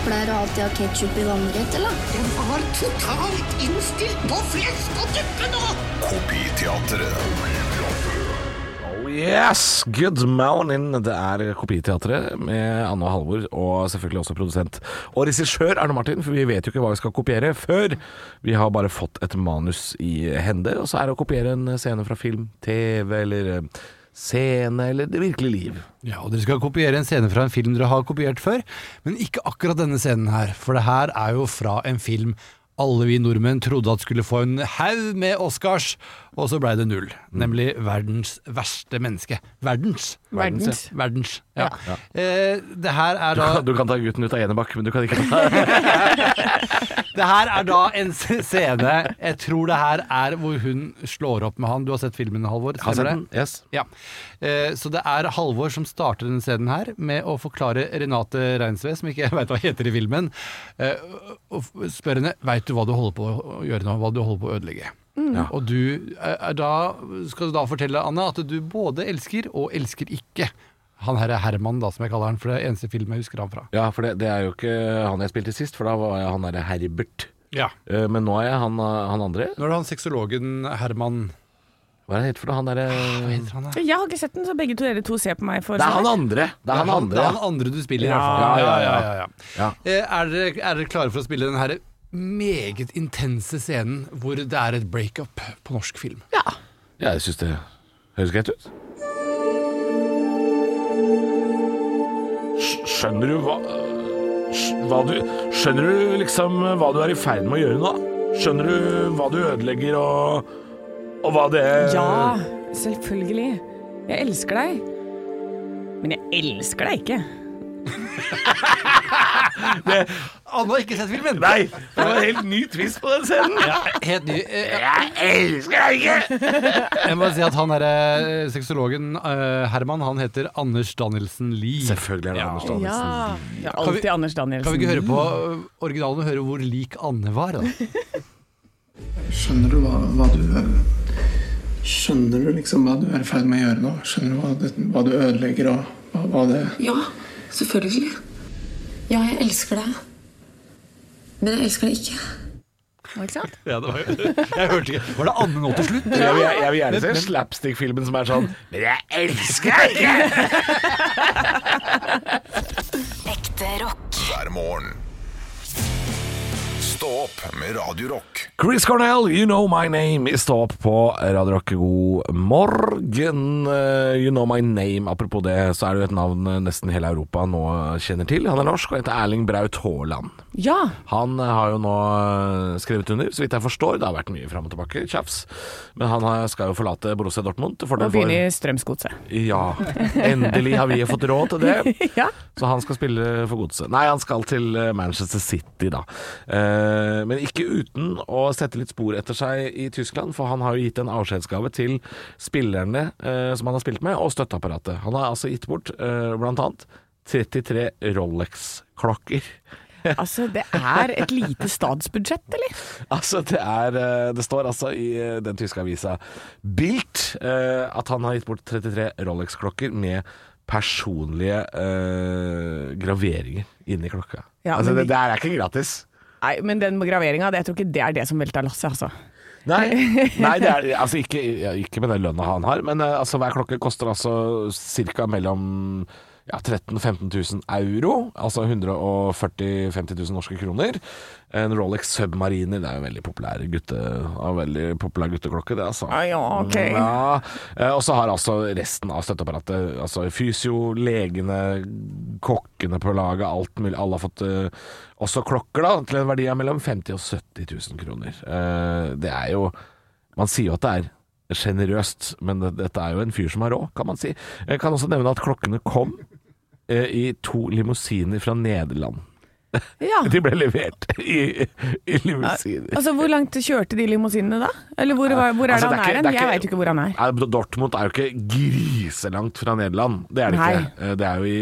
Speaker 8: Pleier du alltid å ha ketsjup i vannrett, eller?
Speaker 2: Kopiteatret.
Speaker 4: Oh, Yes, good morning. Det er Kopiteatret med Anne og Halvor, og selvfølgelig også produsent og regissør Arne Martin, for vi vet jo ikke hva vi skal kopiere før. Vi har bare fått et manus i hende, og så er det å kopiere en scene fra film, TV eller eh, scene eller det virkelige liv.
Speaker 9: Ja, og Dere skal kopiere en scene fra en film dere har kopiert før, men ikke akkurat denne scenen her. For det her er jo fra en film alle vi nordmenn trodde at skulle få en haug med Oscars, og så blei det null.
Speaker 4: Mm.
Speaker 9: Nemlig verdens verste menneske. Verdens.
Speaker 3: Verdens.
Speaker 9: Ja, verdens. Ja. Eh, det her er da
Speaker 4: Du kan ta gutten ut av Enebakk, men du kan ikke ta
Speaker 9: Det her er da en s- scene Jeg tror det her er hvor hun slår opp med han. Du har sett filmen, Halvor?
Speaker 4: Har sett
Speaker 9: stemmer det?
Speaker 4: den? Yes.
Speaker 9: Ja. Eh, Så det er Halvor som starter denne scenen her med å forklare Renate Reinsve, som ikke jeg veit hva heter i filmen, eh, og f- spør henne Veit du hva du holder på å gjøre nå, hva du holder på å ødelegge.
Speaker 4: Ja.
Speaker 9: Og du eh, er da, skal du da fortelle Anne at du både elsker og elsker ikke. Han her er Herman, da, som jeg kaller han, for det er eneste film jeg husker han fra.
Speaker 4: Ja, for det, det er jo ikke han jeg spilte sist, for da var jeg han derre Herbert.
Speaker 9: Ja.
Speaker 4: Eh, Men nå er jeg han, han andre.
Speaker 9: Nå er det han sexologen Herman
Speaker 4: Hva er det han heter for noe? Han eh,
Speaker 9: Hva
Speaker 4: derre
Speaker 9: heter han, da?
Speaker 3: Jeg har ikke sett den, så begge to dere to ser på meg for sånn.
Speaker 4: Det er han andre! Det er han
Speaker 9: Det
Speaker 4: andre.
Speaker 9: er han andre du spiller, i
Speaker 4: Ja,
Speaker 9: hvert fall.
Speaker 4: ja, ja, Ja.
Speaker 9: Eh, Er dere, er dere klare for å spille den her meget intense scenen hvor det er et breakup på norsk film?
Speaker 4: Ja, jeg syns det høres greit ut. Skjønner du hva, sk- hva du Skjønner du liksom hva du er i ferd med å gjøre nå? Skjønner du hva du ødelegger og, og hva det
Speaker 3: Ja, selvfølgelig. Jeg elsker deg. Men jeg elsker deg ikke.
Speaker 9: Anne har ikke sett filmen!
Speaker 4: Nei! Det var en helt ny twist på den scenen.
Speaker 9: Helt ny. Eh,
Speaker 4: Jeg elsker deg ikke!
Speaker 9: Jeg må si at han er, eh, sexologen eh, Herman, han heter Anders Danielsen Lie.
Speaker 4: Selvfølgelig er det Anders Danielsen.
Speaker 3: Ja,
Speaker 9: Kan vi-
Speaker 3: alltid Anders Danielsen.
Speaker 9: Kan vi ikke høre på eh, originalen og høre hvor lik Anne var? Da?
Speaker 10: Skjønner du hva, hva du Skjønner du liksom hva du er i ferd med å gjøre nå? Skjønner du hva, det, hva du ødelegger og hva, hva det
Speaker 8: Ja, selvfølgelig. Ja, jeg elsker deg. Men jeg elsker deg ikke.
Speaker 3: Ikke sant?
Speaker 9: Jeg hørte ikke. Var det Anne nå til slutt?
Speaker 4: Jeg vil, jeg vil gjerne se slapstick-filmen som er sånn Men jeg elsker deg ikke!
Speaker 6: Ekte rock.
Speaker 2: Hver morgen. Stå opp med Radio Rock.
Speaker 4: Chris Cornell, You Know My Name i Stå opp på Radio Rock. God morgen. Eh, You Know My Name, apropos det, så er det jo et navn eh, nesten hele Europa nå kjenner til. Han er norsk og heter Erling Braut Haaland.
Speaker 3: Ja.
Speaker 4: Han eh, har jo nå eh, skrevet under, så vidt jeg forstår. Det har vært mye fram og tilbake, tjafs. Men han har- skal jo forlate Borussia Dortmund til fordel
Speaker 3: Og
Speaker 4: for
Speaker 3: begynne i Strømsgodset.
Speaker 4: Ja. Endelig har vi fått råd til det.
Speaker 3: Ja.
Speaker 4: Så han skal spille for godset. Nei, han skal til eh, Manchester City, da. Eh, men ikke uten å sette litt spor etter seg i Tyskland, for han har jo gitt en avskjedsgave til spillerne eh, som han har spilt med, og støtteapparatet. Han har altså gitt bort eh, blant annet 33 Rolex-klokker.
Speaker 3: Altså, det er et lite statsbudsjett, eller?
Speaker 4: Altså, det er eh, Det står altså i eh, den tyske avisa Bilt at han har gitt bort 33 Rolex-klokker med personlige eh, graveringer inni klokka.
Speaker 3: Ja,
Speaker 4: altså,
Speaker 3: men
Speaker 4: det,
Speaker 3: vi-
Speaker 4: det her er ikke gratis.
Speaker 3: Nei, men den graveringa, det- jeg tror ikke det er det som velter lasset, altså.
Speaker 4: Nei, nei det er, altså ikke, ja, ikke med den lønna han har, men eh, altså, hver klokke koster altså ca. mellom ja, 13 000-15 000 euro, altså 140 000-50 000 norske kroner. En Rolex Submariner, det er jo en veldig populær, gutte, en veldig populær gutteklokke, det altså.
Speaker 3: Ah, ja, ok.
Speaker 4: Ja, eh, og så har altså resten av støtteapparatet, altså fysio, legene, kokkene på laget, alt mulig. Alle har fått eh, også klokker da, til en verdi av mellom 50 000 og 70 000 kroner. Eh, det er jo Man sier jo at det er sjenerøst, men det, dette er jo en fyr som har råd, kan man si. Jeg kan også nevne at klokkene kom eh, i to limousiner fra Nederland.
Speaker 3: Ja.
Speaker 4: De ble levert i, i limousiner.
Speaker 3: Altså, Hvor langt kjørte de limousinene da? Eller hvor, var- hvor er
Speaker 4: Altså,
Speaker 3: det
Speaker 4: det er
Speaker 3: han er
Speaker 4: ikke-
Speaker 3: hen?
Speaker 4: det
Speaker 3: Jeg
Speaker 4: er ikke-
Speaker 3: veit jo ikke hvor han er.
Speaker 4: Nei, Dortmund er jo ikke griselangt fra Nederland. Det er det
Speaker 3: Nei.
Speaker 4: ikke. Eh, Det er jo i,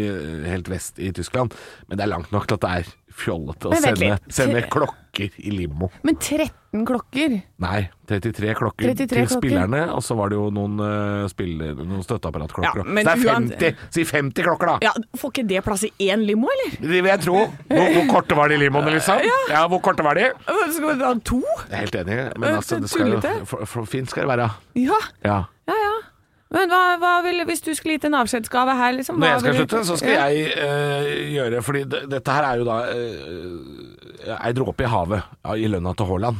Speaker 4: helt vest i Tyskland. Men det er langt nok til at det er fjollete å
Speaker 3: Men vent
Speaker 4: sende,
Speaker 3: litt.
Speaker 4: sende klokker i limo.
Speaker 3: Men 13 klokker?
Speaker 4: Nei, 33 klokker
Speaker 3: 33
Speaker 4: til
Speaker 3: klokker.
Speaker 4: spillerne, og så var det jo noen, eh, spiller, noen støtteapparatklokker.
Speaker 3: Ja,
Speaker 4: da.
Speaker 3: men
Speaker 4: så det er
Speaker 3: uan-
Speaker 4: 50, si 50 klokker, da!
Speaker 3: Ja, Får ikke det plass i én limo, eller?
Speaker 4: Det vil jeg tro. Hvor, hvor korte var de limoene, liksom? Ja. hvor korte var de? Jeg
Speaker 3: Skal vi ha to?
Speaker 4: er helt enig, men
Speaker 3: Det er
Speaker 4: altså, det skal jo,
Speaker 3: tullete.
Speaker 4: for, for fint skal det være.
Speaker 3: Ja,
Speaker 4: Ja.
Speaker 3: ja. ja. Men hva, hva vil, hvis du skulle gitt en avskjedsgave her, liksom hva
Speaker 4: Når jeg skal
Speaker 3: ville-
Speaker 4: slutte, så skal
Speaker 3: Ja.
Speaker 4: jeg eh, gjøre Fordi det- dette her er jo da eh, ei dråpe i havet, ja, i lønna til Haaland.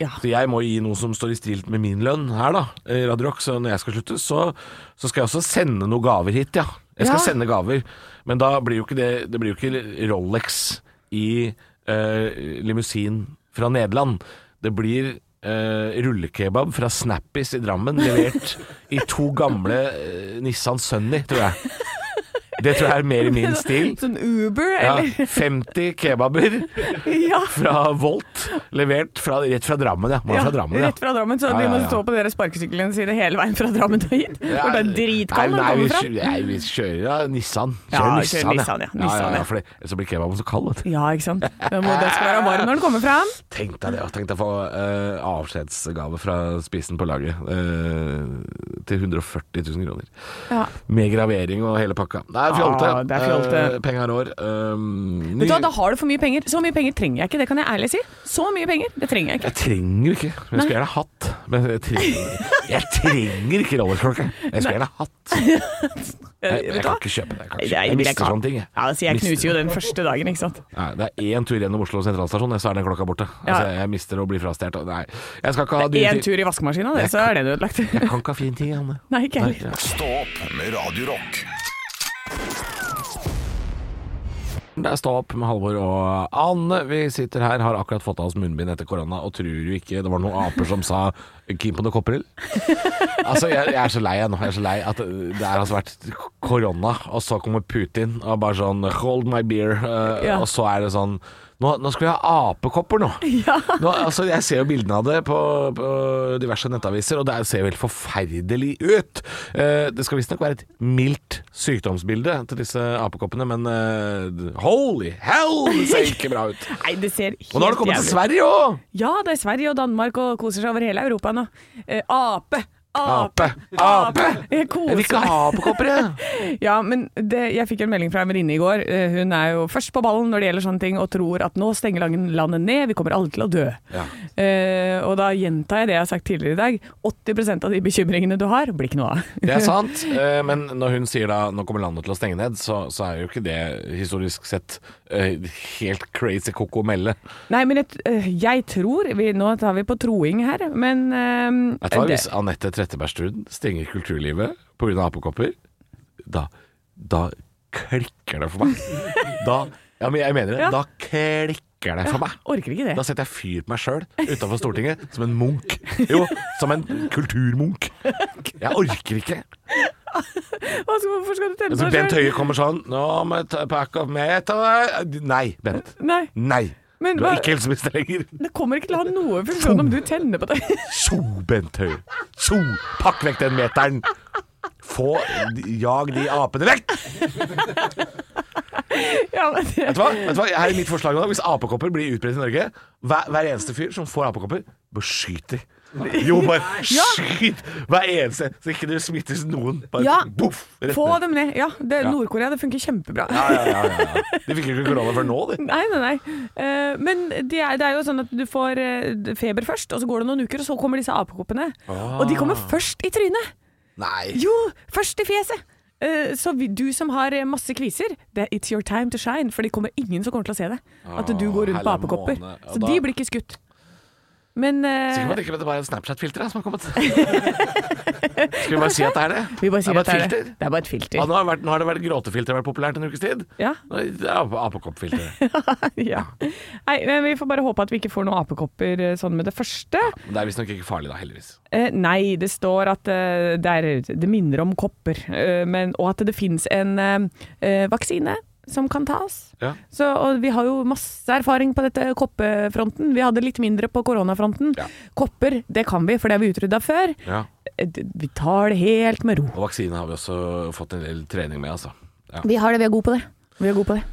Speaker 3: Ja.
Speaker 4: Så jeg må gi noe som står i stil med min lønn her, da, i Radio Rock. Så når jeg skal slutte, så, så skal jeg også sende noen gaver hit, ja. Jeg skal
Speaker 3: Ja.
Speaker 4: sende gaver, men da blir jo ikke det Det blir jo ikke Rolex i eh, limousin fra Nederland. Det blir eh, rullekebab fra Snappis i Drammen, levert i to gamle eh, Nissan Sunny, tror jeg. Det tror jeg er mer i min stil.
Speaker 3: Sånn Uber,
Speaker 4: Ja,
Speaker 3: eller?
Speaker 4: 50 kebaber
Speaker 3: Ja.
Speaker 4: fra Volt, levert fra, rett fra Drammen, ja. Man er fra Drammen, ja.
Speaker 3: Rett fra Drammen, så
Speaker 4: Ja,
Speaker 3: de
Speaker 4: ja,
Speaker 3: må
Speaker 4: ja.
Speaker 3: stå på deres sparkesyklene sine hele veien fra Drammen og hit.
Speaker 4: Ja,
Speaker 3: For det er dritkald når
Speaker 4: nei, nei,
Speaker 3: den kommer
Speaker 4: vi kjø-
Speaker 3: fram.
Speaker 4: Nei, vi kjører ja, Nissan.
Speaker 3: Ja,
Speaker 4: Kjører
Speaker 3: vi
Speaker 4: Nissan,
Speaker 3: kjører Nissan, ja.
Speaker 4: ja,
Speaker 3: Nissan,
Speaker 4: ja,
Speaker 3: ja.
Speaker 4: for det- ellers så blir kebaben så kald, vet du.
Speaker 3: Ja, ikke sant. Den, må, den skal være varm når den kommer fram.
Speaker 4: Tenk deg det, og tenk deg å få eh, avskjedsgave fra spissen på laget eh, til 140 000 kroner.
Speaker 3: Ja.
Speaker 4: Med gravering og hele pakka. Det er fjolte.
Speaker 3: Ah, det er fjolte.
Speaker 4: Eh, Penga rår. Um,
Speaker 3: Vet du hva, da har du for mye penger. Så mye penger trenger jeg ikke, det kan jeg ærlig si. Så mye penger, det trenger jeg ikke.
Speaker 4: jeg trenger jo ikke. Jeg skulle gjerne hatt. Men jeg trenger, jeg trenger ikke rollersklokke. Jeg skulle gjerne hatt. Jeg,
Speaker 3: Eh,
Speaker 4: jeg
Speaker 3: vet du
Speaker 4: kan
Speaker 3: hva?
Speaker 4: ikke kjøpe det. Jeg, kan
Speaker 3: Nei,
Speaker 4: ikke
Speaker 3: det
Speaker 4: kjøpe. jeg
Speaker 3: vil ikke
Speaker 4: mister
Speaker 3: ha.
Speaker 4: sånne ting.
Speaker 3: Ja, altså, jeg
Speaker 4: Mister-
Speaker 3: knuser jo den første dagen, ikke sant.
Speaker 4: Nei, det er én tur gjennom Oslo sentralstasjon, så er den klokka borte.
Speaker 3: Ja.
Speaker 4: Altså, jeg mister å bli frastjålet. Nei, jeg skal ikke ha dyre
Speaker 3: Én
Speaker 4: ting.
Speaker 3: tur i vaskemaskina, det, så er den ødelagt.
Speaker 4: Jeg kan ikke ha fin tid, Anne.
Speaker 3: Nei, ikke
Speaker 4: Nei,
Speaker 3: heller.
Speaker 4: ja.
Speaker 2: Stå opp med Radio Rock.
Speaker 4: Det er Stå opp med Halvor og Anne. Vi sitter her, har akkurat fått av oss munnbind etter korona, og tror jo ikke det var noen aper som sa 'keen på noe kopperøl'? Altså, jeg, jeg er så lei jeg nå. Jeg er så lei at det har altså vært korona, og så kommer Putin og bare sånn 'hold my beer', eh,
Speaker 3: Ja.
Speaker 4: og så er det sånn nå, nå skal vi ha apekopper nå. nå altså, jeg ser jo bildene av det på, på diverse nettaviser, og det ser jo helt forferdelig ut. Eh, det skal visstnok være et mildt sykdomsbilde til disse apekoppene, men eh, holy hell, det ser ikke bra ut.
Speaker 3: Nei, det ser helt
Speaker 4: Og nå har det kommet
Speaker 3: jævlig ut.
Speaker 4: til Sverige òg!
Speaker 3: Ja, det er Sverige og Danmark og koser seg over hele Europa nå. Eh, ape! Ape!
Speaker 4: Ape! Ape!
Speaker 3: Jeg
Speaker 4: Jeg
Speaker 3: koser
Speaker 4: vil ikke
Speaker 3: meg.
Speaker 4: ha apekopper, jeg.
Speaker 3: Ja, men det, jeg fikk en melding fra en venninne i går. Eh, Hun er jo først på ballen når det gjelder sånne ting, og tror at nå stenger langen- landet ned, vi kommer alle til å dø.
Speaker 4: Ja.
Speaker 3: Eh, og da gjentar jeg det jeg har sagt tidligere i dag. 80 av de bekymringene du har, blir ikke noe av.
Speaker 4: Det er sant, eh, men når hun sier da 'nå kommer landet til å stenge ned', så, så er jo ikke det historisk sett eh, helt crazy koko melle.
Speaker 3: Nei, men jeg, t- eh, jeg tror vi, Nå tar vi på troing her, men eh,
Speaker 4: Vet du hva,
Speaker 3: det-
Speaker 4: Hvis Anette Trettebergstuen stenger kulturlivet pga. apekopper, da, da klikker det for meg. Da, ja, men jeg mener det.
Speaker 3: Ja.
Speaker 4: Da klikker det for meg.
Speaker 3: Orker ikke det.
Speaker 4: Da setter jeg fyr på meg sjøl utafor Stortinget som en munk. Jo, som en kulturmunk. Jeg orker ikke.
Speaker 3: Hva skal- Hvorfor skal du telle på
Speaker 4: Altså,
Speaker 3: deg
Speaker 4: Bent
Speaker 3: selv?
Speaker 4: Høie kommer sånn Nå må jeg ta pakke opp med et av deg». Nei, Bent.
Speaker 3: Nei,
Speaker 4: Nei.
Speaker 3: Men
Speaker 4: du er
Speaker 3: hva-
Speaker 4: ikke helseminister lenger.
Speaker 3: det kommer ikke til å ha noe funksjon om du tenner på det.
Speaker 4: Tjo, Bent Høie. Tjo! Pakk vekk den meteren. Få Jag de apene vekk!
Speaker 3: Ja, men det,
Speaker 4: Vet du hva? Vet du hva? Her er mitt forslag nå. Hvis apekopper blir utbredt i Norge, hver, hver eneste fyr som får apekopper, bør skyte. Jo, bare skyt hver eneste, så ikke det smittes noen. Bare
Speaker 3: Ja.
Speaker 4: boff! rett
Speaker 3: Få
Speaker 4: ned.
Speaker 3: dem ned. Ja, det, Nord-Korea, det funker kjempebra.
Speaker 4: Ja, ja, ja, ja, ja. De fikk jo ikke korona før nå, de.
Speaker 3: Nei, nei, nei. Eh, men det er, det er jo sånn at du får eh, feber først, og så går det noen uker, og så kommer disse apekoppene.
Speaker 4: Ah.
Speaker 3: Og de kommer først i trynet!
Speaker 4: Nei.
Speaker 3: Jo, først i fjeset! Eh, så vi, du som har eh, masse kviser, det, it's your time to shine, for det kommer ingen som kommer til å se det. At du går rundt på
Speaker 4: Ah, hella
Speaker 3: apekopper.
Speaker 4: måne. Ja,
Speaker 3: Så
Speaker 4: da-
Speaker 3: de blir ikke skutt. Men eh,
Speaker 4: Sikker på at det ikke det bare er Snapchat-filteret som har kommet? Skal vi bare si at det er det?
Speaker 3: vi bare sier at
Speaker 4: det er bare et
Speaker 3: det.
Speaker 4: filter.
Speaker 3: Det er bare et
Speaker 4: Ja,
Speaker 3: filter.
Speaker 4: nå, har det vært, nå har det vært gråtefilter vært populært en ukes tid.
Speaker 3: Ja.
Speaker 4: Nå er det ape- Apekoppfilteret.
Speaker 3: ja. Nei, men vi får bare håpe at vi ikke får noen apekopper eh, sånn med det første.
Speaker 4: Men det er visstnok ikke farlig da, heldigvis.
Speaker 3: Eh, nei, det står at eh, det, er, det minner om kopper, eh, men, og at det finnes en eh, eh, vaksine som kan tas.
Speaker 4: Ja.
Speaker 3: Så, og vi har jo masse erfaring på dette koppefronten. Vi hadde litt mindre på koronafronten.
Speaker 4: Ja.
Speaker 3: Kopper, det kan vi, for det har vi utrydda før.
Speaker 4: Ja.
Speaker 3: Eh, d- Vi tar det helt med ro.
Speaker 4: Og vaksine har vi også fått en del trening med, altså. Ja.
Speaker 3: Vi har det, vi er gode på det. Vi er gode på det.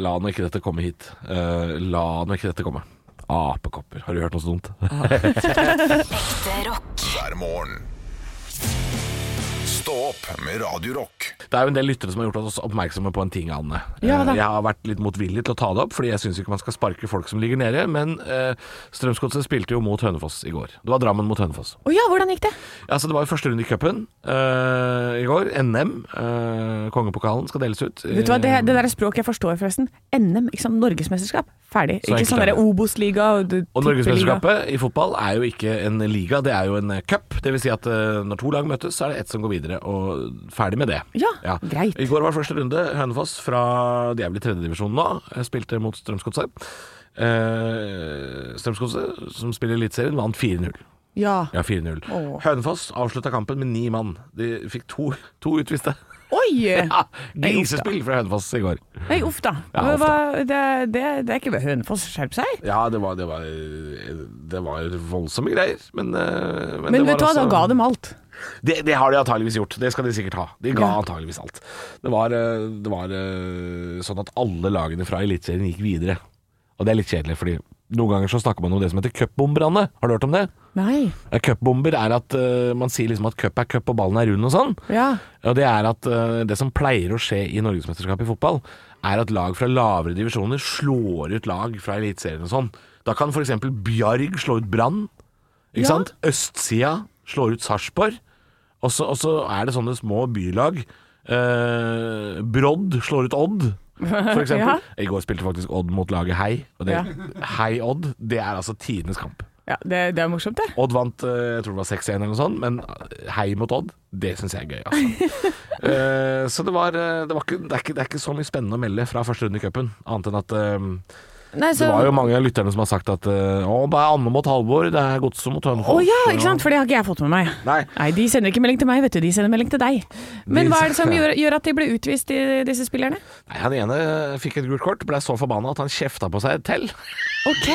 Speaker 4: La nå ikke dette komme hit. Eh, la nå ikke dette komme. Apekopper. Har du hørt noe så dumt?
Speaker 6: Ekte rock.
Speaker 2: hver morgen. Stå opp med Radio Rock.
Speaker 4: Det er jo en del lyttere som har gjort oss oppmerksomme på en ting, Anne.
Speaker 3: Ja
Speaker 4: Eh,
Speaker 3: da.
Speaker 4: Jeg har vært litt motvillig til å ta det opp, fordi jeg syns ikke man skal sparke folk som ligger nede. Men eh, Strømsgodset spilte jo mot Hønefoss i går. Det var Drammen mot Hønefoss.
Speaker 3: Å ja, hvordan gikk det?
Speaker 4: Altså, det var jo første runde i cupen eh, i går. NM. eh, kongepokalen skal deles ut.
Speaker 3: Vet du hva, det, det der er språket jeg forstår forresten. NM, ikke sant? Norgesmesterskap. Ferdig.
Speaker 4: Så
Speaker 3: ikke
Speaker 4: enkelt
Speaker 3: sånn
Speaker 4: er
Speaker 3: derre
Speaker 4: det.
Speaker 3: Obos-liga og d-
Speaker 4: Og
Speaker 3: tippeliga.
Speaker 4: Norgesmesterskapet i fotball er jo ikke en liga, det er jo en eh, cup. Det vil si at eh, når to lag møtes, så er det ett som går videre, og ferdig med det.
Speaker 3: Ja, greit.
Speaker 4: I går var første runde. Hønefoss fra de er vel i tredjedivisjon nå, eh, spilte mot Strømsgodset. Eh, Strømsgodset, som spiller Eliteserien, vant 4-0.
Speaker 3: Ja.
Speaker 4: Ja, 4-0.
Speaker 3: Åh.
Speaker 4: Hønefoss avslutta kampen med ni mann. De fikk to, to utviste.
Speaker 3: Oi!
Speaker 4: Ja, grisespill fra Hønefoss i går.
Speaker 3: Nei, uff da.
Speaker 4: Ja, uff da.
Speaker 3: Hva- Det, det, det er ikke ved Hønefoss, skjerp seg.
Speaker 4: Ja, det var, det var, det var voldsomme greier, men eh, det
Speaker 3: Men
Speaker 4: var
Speaker 3: vet du hva, da
Speaker 4: altså-
Speaker 3: ga dem alt.
Speaker 4: Det, det har de antageligvis gjort. Det skal de sikkert ha. De ga
Speaker 3: Ja.
Speaker 4: antageligvis alt. Det var, eh, det var eh, sånn at alle lagene fra Eliteserien gikk videre. Og det er litt kjedelig, fordi noen ganger så snakker man om det som heter cupbomberne. Har du hørt om det?
Speaker 3: Nei.
Speaker 4: Eh, Cupbomber er at eh, man sier liksom at cup er cup og ballen er rund og sånn.
Speaker 3: Ja.
Speaker 4: Og det er at eh, det som pleier å skje i Norgesmesterskapet i fotball, er at lag fra lavere divisjoner slår ut lag fra Eliteserien og sånn. Da kan f.eks. Bjarg slå ut Brann. Ikke
Speaker 3: Ja.
Speaker 4: sant? Østsida slår ut Sarpsborg. Og så og så er det sånne små bylag. Eh, Brodd slår ut Odd, for eksempel.
Speaker 3: Ja.
Speaker 4: I går spilte faktisk Odd mot laget Hei. Og det,
Speaker 3: Ja.
Speaker 4: Hei Odd, det er altså tidenes kamp.
Speaker 3: ja det, det er morsomt, det.
Speaker 4: Odd vant eh, jeg tror det var 6-1 eller noe sånt, men eh, hei mot Odd, det syns jeg er gøy. Altså. Eh, så det, var, eh, det, var ikke, det, er ikke, det er ikke så mye spennende å melde fra første runde i cupen, annet enn at eh,
Speaker 3: Nei,
Speaker 4: det var jo mange av lytterne som har sagt at eh, å, det er Anne mot Halvor, det er Godset mot
Speaker 3: Å
Speaker 4: Hønefoss.
Speaker 3: ja, ikke sant, for det har ikke jeg fått med meg.
Speaker 4: Nei.
Speaker 3: De sender ikke melding til meg, vet du. De sender melding til deg. Men
Speaker 4: De-
Speaker 3: hva er det som gjør, gjør at de ble utvist, de, disse spillerne?
Speaker 4: Nei, Han ene fikk et gult kort, ble så forbanna at han kjefta på seg et tell.
Speaker 3: OK!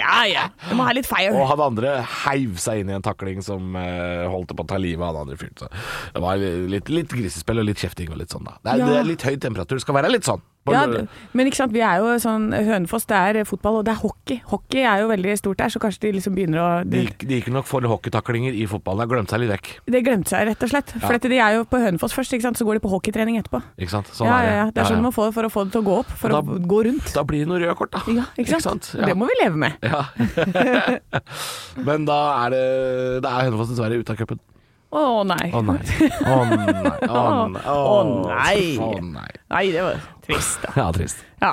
Speaker 3: Ja ja. Du må ha litt
Speaker 4: Og
Speaker 3: fire.
Speaker 4: han andre heiv seg inn i en takling som eh, holdt på å ta livet av han andre fyren. Så Det var litt, litt grisespill og litt kjefting og litt sånn, da. Det er,
Speaker 3: Ja.
Speaker 4: det er litt høy temperatur. Det skal være litt sånn. På
Speaker 3: Ja,
Speaker 4: en-
Speaker 3: d- men ikke sant, vi er jo sånn Hønefoss, det er fotball, og det er hockey. Hockey er jo veldig stort der, så kanskje de liksom begynner å
Speaker 4: De gikk, de gikk nok for hockeytaklinger i fotballen. Har glemt seg litt vekk.
Speaker 3: Det glemte seg, rett og slett. For dette, de er jo på Hønefoss først, ikke sant? så går de på hockeytrening etterpå.
Speaker 4: Ikke sant? Sånn
Speaker 3: ja,
Speaker 4: er
Speaker 3: ja,
Speaker 4: det.
Speaker 3: ja. Det er sånn
Speaker 4: Ja,
Speaker 3: man får for å få det til å gå opp, for
Speaker 4: Da-
Speaker 3: å gå rundt.
Speaker 4: Da blir det noen røde kort, da.
Speaker 3: Ja, ikke sant?
Speaker 4: Ja.
Speaker 3: Det må vi leve med.
Speaker 4: ja. Men da er det Da er Hønefoss dessverre ute av cupen.
Speaker 3: Å nei.
Speaker 4: Å nei. Å nei. Å nei.
Speaker 3: Å nei.
Speaker 4: Å nei.
Speaker 3: Nei, det var trist, da.
Speaker 4: Ja, trist.
Speaker 3: Ja.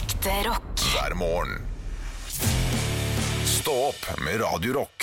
Speaker 6: Ekte rock.
Speaker 2: hver morgen. Stå opp med Radio Rock.